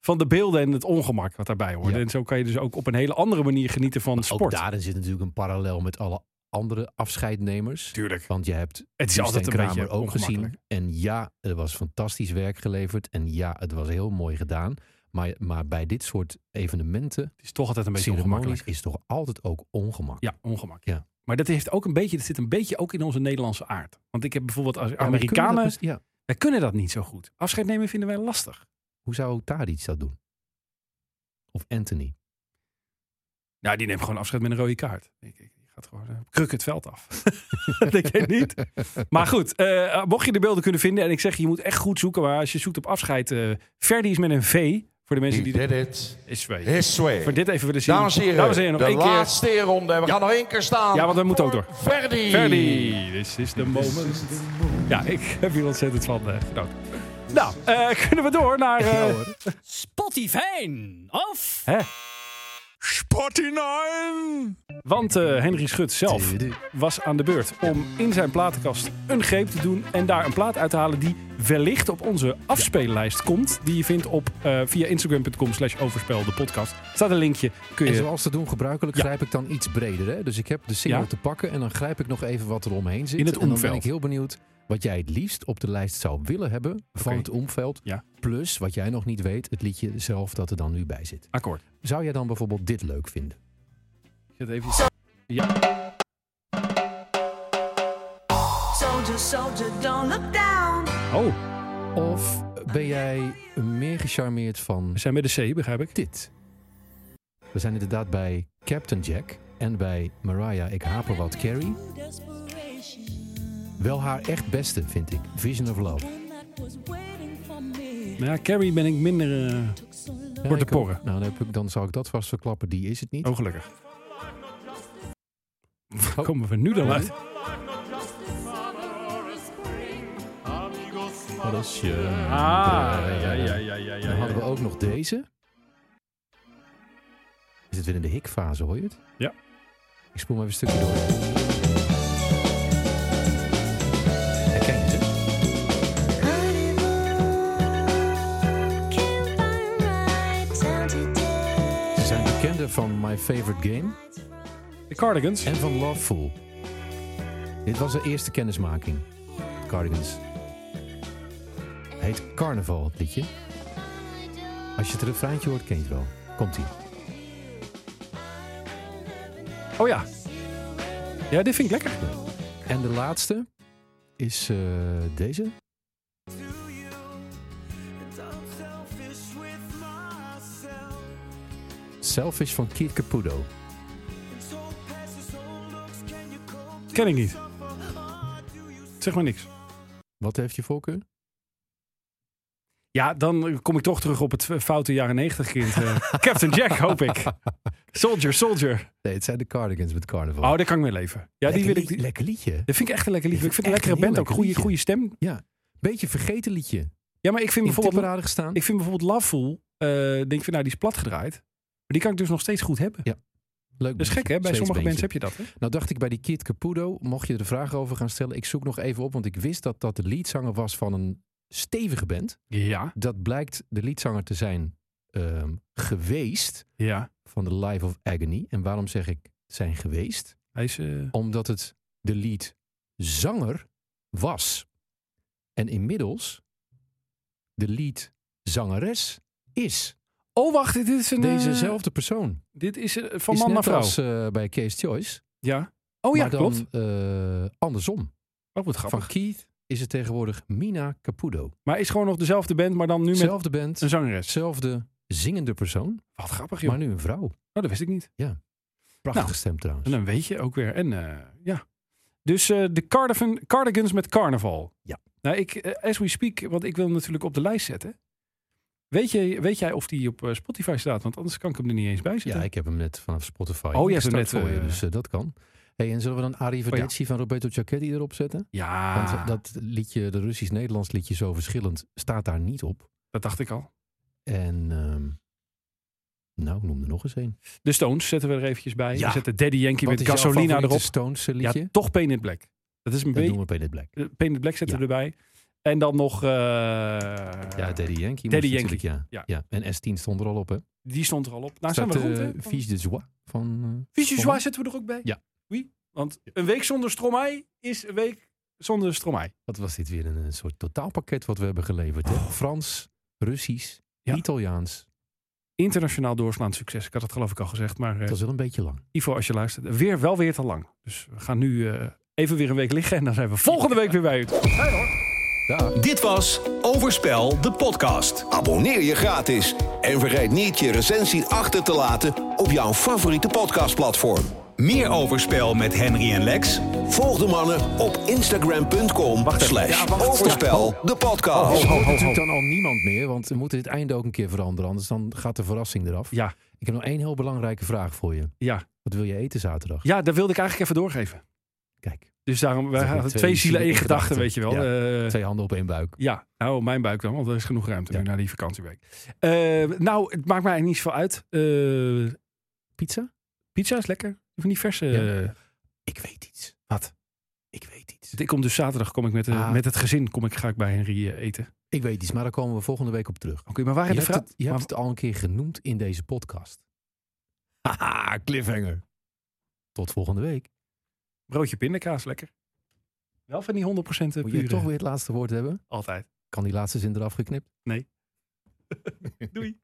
[SPEAKER 3] van de beelden en het ongemak wat daarbij hoort.
[SPEAKER 4] Ja.
[SPEAKER 3] En zo kan je dus ook op een hele andere manier genieten van
[SPEAKER 4] Ook
[SPEAKER 3] sport.
[SPEAKER 4] daarin zit natuurlijk een parallel met alle andere afscheidnemers.
[SPEAKER 3] Tuurlijk.
[SPEAKER 4] Want je hebt
[SPEAKER 3] Het is
[SPEAKER 4] Joep
[SPEAKER 3] altijd
[SPEAKER 4] Stijn
[SPEAKER 3] een
[SPEAKER 4] Kramer
[SPEAKER 3] beetje
[SPEAKER 4] ook gezien.
[SPEAKER 3] ongemakkelijk.
[SPEAKER 4] En ja, er was fantastisch werk geleverd. En ja, het was heel mooi gedaan. Maar, maar bij dit soort evenementen,
[SPEAKER 3] Het is toch altijd een beetje
[SPEAKER 4] ceremonies,
[SPEAKER 3] ongemakkelijk.
[SPEAKER 4] is toch altijd ook ongemak.
[SPEAKER 3] Ja, ongemak.
[SPEAKER 4] Ja.
[SPEAKER 3] Maar dat, heeft ook een beetje, dat zit een beetje ook in onze Nederlandse aard. Want ik heb bijvoorbeeld als
[SPEAKER 4] Ja, maar kunnen we dat
[SPEAKER 3] Amerikanen...
[SPEAKER 4] best- ja.
[SPEAKER 3] wij kunnen dat niet zo goed. Afscheid nemen vinden wij lastig.
[SPEAKER 4] Hoe zou Tadic dat doen? Of Anthony?
[SPEAKER 3] Nou, die neemt gewoon afscheid met een rode kaart. Ik, ik, die gaat gewoon eh, kruk het veld af. (laughs) dat denk jij niet? Maar goed, eh, mocht je de beelden kunnen vinden. En ik zeg, je moet echt goed zoeken. Maar als je zoekt op afscheid. eh Verdi is met een V. Voor de mensen
[SPEAKER 11] He
[SPEAKER 3] die...
[SPEAKER 11] did it
[SPEAKER 3] Is twee.
[SPEAKER 11] his way.
[SPEAKER 3] Voor dit even willen zien.
[SPEAKER 11] Dames en heren,
[SPEAKER 3] nog
[SPEAKER 11] de
[SPEAKER 3] één keer.
[SPEAKER 11] laatste ronde. We
[SPEAKER 3] Ja.
[SPEAKER 11] gaan nog één keer staan
[SPEAKER 3] Ja, want we moeten ook door.
[SPEAKER 11] Verdi.
[SPEAKER 3] Verdi, this is the moment. Ja, ik heb hier ontzettend van eh, genoten. Nou, eh, kunnen we door naar... eh,
[SPEAKER 16] Spotify of
[SPEAKER 3] hè?
[SPEAKER 16] Spotify.
[SPEAKER 3] Want eh, Henry Schut zelf was aan de beurt om in zijn platenkast een greep te doen en daar een plaat uit te halen die wellicht op onze afspeellijst komt. Die je vindt op eh, via instagram.com slash overspel de podcast. Staat een linkje. Kun je...
[SPEAKER 4] En zoals te doen gebruikelijk
[SPEAKER 3] Ja.
[SPEAKER 4] grijp ik dan iets breder. Hè? Dus ik heb de single
[SPEAKER 3] Ja.
[SPEAKER 4] te pakken en dan grijp ik nog even wat er omheen zit.
[SPEAKER 3] In het
[SPEAKER 4] en dan ben
[SPEAKER 3] omveld.
[SPEAKER 4] ik heel benieuwd wat jij het liefst op de lijst zou willen hebben van
[SPEAKER 3] Oké.
[SPEAKER 4] het omveld.
[SPEAKER 3] Ja.
[SPEAKER 4] Plus wat jij nog niet weet, het liedje zelf dat er dan nu bij zit.
[SPEAKER 3] Akkoord.
[SPEAKER 4] Zou jij dan bijvoorbeeld dit leuk vinden?
[SPEAKER 3] Ik zet even... Ja.
[SPEAKER 16] Soldier, soldier, don't look down.
[SPEAKER 3] Oh.
[SPEAKER 4] Of ben jij meer gecharmeerd van... We
[SPEAKER 3] zijn bij de C, begrijp ik.
[SPEAKER 4] Dit. We zijn inderdaad bij Captain Jack en bij Mariah Ik Haper Wat Carrie. Wel haar echt beste, vind ik. Vision of Love.
[SPEAKER 3] Nou ja, Carrie ben ik minder... eh,
[SPEAKER 4] Ja,
[SPEAKER 3] wordt de
[SPEAKER 4] ik ook.
[SPEAKER 3] porren.
[SPEAKER 4] Nou, dan, heb ik, dan zou ik dat vast verklappen. Die is het niet.
[SPEAKER 3] Oh, gelukkig. Komen we nu dan uit?
[SPEAKER 4] Oh, dat is je.
[SPEAKER 3] Ah, ja, ja, ja, ja, ja,
[SPEAKER 4] Dan hadden we
[SPEAKER 3] ja.
[SPEAKER 4] ook nog deze. Is het weer in de hikfase, hoor je het?
[SPEAKER 3] Ja.
[SPEAKER 4] Ik spoel maar even een stukje door. Herken je het? hè? Ze zijn bekender van My Favorite Game.
[SPEAKER 3] De Cardigans.
[SPEAKER 4] En van Loveful. Dit was de eerste kennismaking. Cardigans. Heet Carnaval, het liedje. Als je het refreintje hoort, ken je het wel. Komt-ie.
[SPEAKER 3] Oh ja. Ja, dit vind ik lekker.
[SPEAKER 4] En de laatste is eh, deze. Selfish van Keith Caputo.
[SPEAKER 3] Ken ik niet. Zeg maar niks.
[SPEAKER 4] Wat heeft je voorkeur?
[SPEAKER 3] Ja, dan kom ik toch terug op het foute jaren 90 kind. eh.
[SPEAKER 4] (laughs)
[SPEAKER 3] Captain Jack, hoop ik. Soldier, soldier.
[SPEAKER 4] Nee, het zijn de Cardigans met Carnaval.
[SPEAKER 3] Oh, daar kan ik mee leven. Ja, die wil
[SPEAKER 4] Lekker
[SPEAKER 3] ik.
[SPEAKER 4] lied- Lekker liedje.
[SPEAKER 3] Dat vind ik echt een lekker liedje. Ik vind het een
[SPEAKER 4] Echt
[SPEAKER 3] lekkere band
[SPEAKER 4] heel
[SPEAKER 3] ook.
[SPEAKER 4] lekker
[SPEAKER 3] Goede,
[SPEAKER 4] liedje.
[SPEAKER 3] goede stem.
[SPEAKER 4] Ja, beetje vergeten liedje.
[SPEAKER 3] Ja, maar ik vind
[SPEAKER 4] In
[SPEAKER 3] bijvoorbeeld.
[SPEAKER 4] tipperade gestaan.
[SPEAKER 3] Ik vind bijvoorbeeld Loveful. eh, denk van, nou, die is plat gedraaid. Maar die kan ik dus nog steeds goed hebben.
[SPEAKER 4] Ja. Leuk.
[SPEAKER 3] Dat is gek, hè? Bij sommige bands heb je dat. Hè?
[SPEAKER 4] Nou dacht ik bij die Kid Caputo, mocht je er vragen over gaan stellen, ik zoek nog even op, want ik wist dat dat de leadzanger was van een stevige band.
[SPEAKER 3] Ja.
[SPEAKER 4] Dat blijkt de leadzanger te zijn ehm, geweest
[SPEAKER 3] Ja.
[SPEAKER 4] van de Life of Agony. En waarom zeg ik zijn geweest?
[SPEAKER 3] Hij is. eh,
[SPEAKER 4] Omdat het de leadzanger was. En inmiddels de leadzangeres is.
[SPEAKER 3] Oh, wacht, dit is een. eh,
[SPEAKER 4] Dezezelfde persoon.
[SPEAKER 3] Dit is eh, van
[SPEAKER 4] Is
[SPEAKER 3] man
[SPEAKER 4] net
[SPEAKER 3] naar vrouw.
[SPEAKER 4] als eh, bij Case Choice.
[SPEAKER 3] Ja. Oh ja,
[SPEAKER 4] maar dan,
[SPEAKER 3] klopt.
[SPEAKER 4] eh, andersom.
[SPEAKER 3] Oh, wat grappig.
[SPEAKER 4] Van Keith is het tegenwoordig Mina Caputo.
[SPEAKER 3] Maar is gewoon nog dezelfde band, maar dan nu met
[SPEAKER 4] Zelfde band,
[SPEAKER 3] een zangeres.
[SPEAKER 4] zelfde zingende persoon,
[SPEAKER 3] Wat grappig, joh.
[SPEAKER 4] maar Dus- nu een vrouw.
[SPEAKER 3] Oh, dat wist ik niet.
[SPEAKER 4] Ja. Prachtig
[SPEAKER 3] Nou,
[SPEAKER 4] gestemd trouwens.
[SPEAKER 3] En dan weet je ook weer. En eh, ja. Dus eh, de Cardigan, Cardigans met Carnaval.
[SPEAKER 4] Ja.
[SPEAKER 3] Nou, ik, eh, as we speak, want ik wil hem natuurlijk op de lijst zetten. Weet, je, weet jij of die op eh, Spotify staat? Want anders kan ik hem er niet eens bij zetten.
[SPEAKER 4] Ja, ik heb hem net vanaf Spotify.
[SPEAKER 3] Oh, je hebt hem
[SPEAKER 4] ingestart
[SPEAKER 3] net,
[SPEAKER 4] voor je,
[SPEAKER 3] eh, Oh
[SPEAKER 4] dus eh, dat kan. Hey, en zullen we dan Arrivederci van Roberto Giacchetti erop zetten?
[SPEAKER 3] Ja,
[SPEAKER 4] Want eh,
[SPEAKER 3] dat,
[SPEAKER 4] dat liedje, de Russisch-Nederlands liedje zo verschillend, staat daar niet op.
[SPEAKER 3] dacht ik al.
[SPEAKER 4] En ehm, nou, noem er nog eens een.
[SPEAKER 3] De Stones zetten we er eventjes bij.
[SPEAKER 4] Ja.
[SPEAKER 3] We zetten Daddy Yankee
[SPEAKER 4] Wat
[SPEAKER 3] met
[SPEAKER 4] is jouw
[SPEAKER 3] Gasolina
[SPEAKER 4] favoriete
[SPEAKER 3] erop.
[SPEAKER 4] Stones eh, liedje?
[SPEAKER 3] Ja, toch Painted Black. Dat is een
[SPEAKER 4] dat doen
[SPEAKER 3] beetje.
[SPEAKER 4] we bij dit Black.
[SPEAKER 3] eh, Painted Black zetten
[SPEAKER 4] Ja.
[SPEAKER 3] we erbij. En dan nog. eh,
[SPEAKER 4] Ja, Daddy
[SPEAKER 3] Daddy
[SPEAKER 4] Yankee. moest
[SPEAKER 3] Ah, Yankee.
[SPEAKER 4] natuurlijk,
[SPEAKER 3] Ja.
[SPEAKER 4] Ja. ja. En S10 stond er al op, hè?
[SPEAKER 3] Die stond er al op. Nou, zijn
[SPEAKER 4] Staat,
[SPEAKER 3] we rond,
[SPEAKER 4] eh,
[SPEAKER 3] hè?
[SPEAKER 4] Vies de Joie van... eh,
[SPEAKER 3] Visie
[SPEAKER 4] van-
[SPEAKER 3] Zwaar zetten we er ook bij.
[SPEAKER 4] Ja.
[SPEAKER 3] Oui. Want een week zonder Stromae is een week zonder Stromae.
[SPEAKER 4] Wat was dit weer? Een, een soort totaalpakket wat we hebben geleverd. Hè? Frans, Russisch,
[SPEAKER 3] Oh. Ja.
[SPEAKER 4] Italiaans.
[SPEAKER 3] Internationaal doorslaand succes. Ik had het geloof ik al gezegd. Maar eh,
[SPEAKER 4] Dat is wel een beetje lang.
[SPEAKER 3] Ivo, als je luistert, weer, wel weer te lang. Dus we gaan nu eh, even weer een week liggen. En dan zijn we volgende week weer bij u.
[SPEAKER 1] Dit was Overspel, de podcast.
[SPEAKER 2] Abonneer je gratis en vergeet niet je recensie achter te laten op jouw favoriete podcastplatform.
[SPEAKER 1] Meer Overspel met Henry en Lex?
[SPEAKER 2] Volg de mannen op instagram.com slash overspel de
[SPEAKER 4] Oh,
[SPEAKER 2] podcast.
[SPEAKER 4] natuurlijk dan al niemand meer, want we moeten dit einde ook een keer veranderen. Anders dan gaat de verrassing eraf.
[SPEAKER 3] Ja,
[SPEAKER 4] Ik heb nog één heel belangrijke vraag voor je.
[SPEAKER 3] ja.
[SPEAKER 4] Wat wil je eten zaterdag?
[SPEAKER 3] ja, dat wilde ik eigenlijk even doorgeven.
[SPEAKER 4] Kijk,
[SPEAKER 3] Dus daarom, wij
[SPEAKER 4] Dat
[SPEAKER 3] hadden
[SPEAKER 4] zijn
[SPEAKER 3] twee,
[SPEAKER 4] twee
[SPEAKER 3] zielen één
[SPEAKER 4] zielen in
[SPEAKER 3] gedachte, weet je
[SPEAKER 4] gedachten.
[SPEAKER 3] wel. Eh,
[SPEAKER 4] twee handen op één buik.
[SPEAKER 3] Ja, nou, mijn buik dan, want er is genoeg ruimte nu na die vakantieweek. Eh, nou, het maakt mij niet zoveel uit. Eh,
[SPEAKER 4] Pizza?
[SPEAKER 3] pizza is lekker. Van die verse...
[SPEAKER 4] Ja.
[SPEAKER 3] eh,
[SPEAKER 4] Ik weet iets.
[SPEAKER 3] Wat?
[SPEAKER 4] Ik weet iets.
[SPEAKER 3] Ik kom dus zaterdag kom ik met, eh,
[SPEAKER 4] Ah.
[SPEAKER 3] met het gezin kom ik, ga ik bij Henri eh, eten. Oké,
[SPEAKER 4] Ik weet iets, maar daar komen we volgende week op terug. Oké,
[SPEAKER 3] maar waren
[SPEAKER 4] je
[SPEAKER 3] de
[SPEAKER 4] hebt,
[SPEAKER 3] vragen...
[SPEAKER 4] het, je hebt het al een keer genoemd in deze podcast. Haha, cliffhanger. Tot volgende week.
[SPEAKER 3] Broodje pindakaas, lekker. Wel van die 100% pure.
[SPEAKER 4] Moet je toch weer het laatste woord hebben?
[SPEAKER 3] Altijd.
[SPEAKER 4] Kan die laatste zin eraf geknipt?
[SPEAKER 3] Nee. Doei.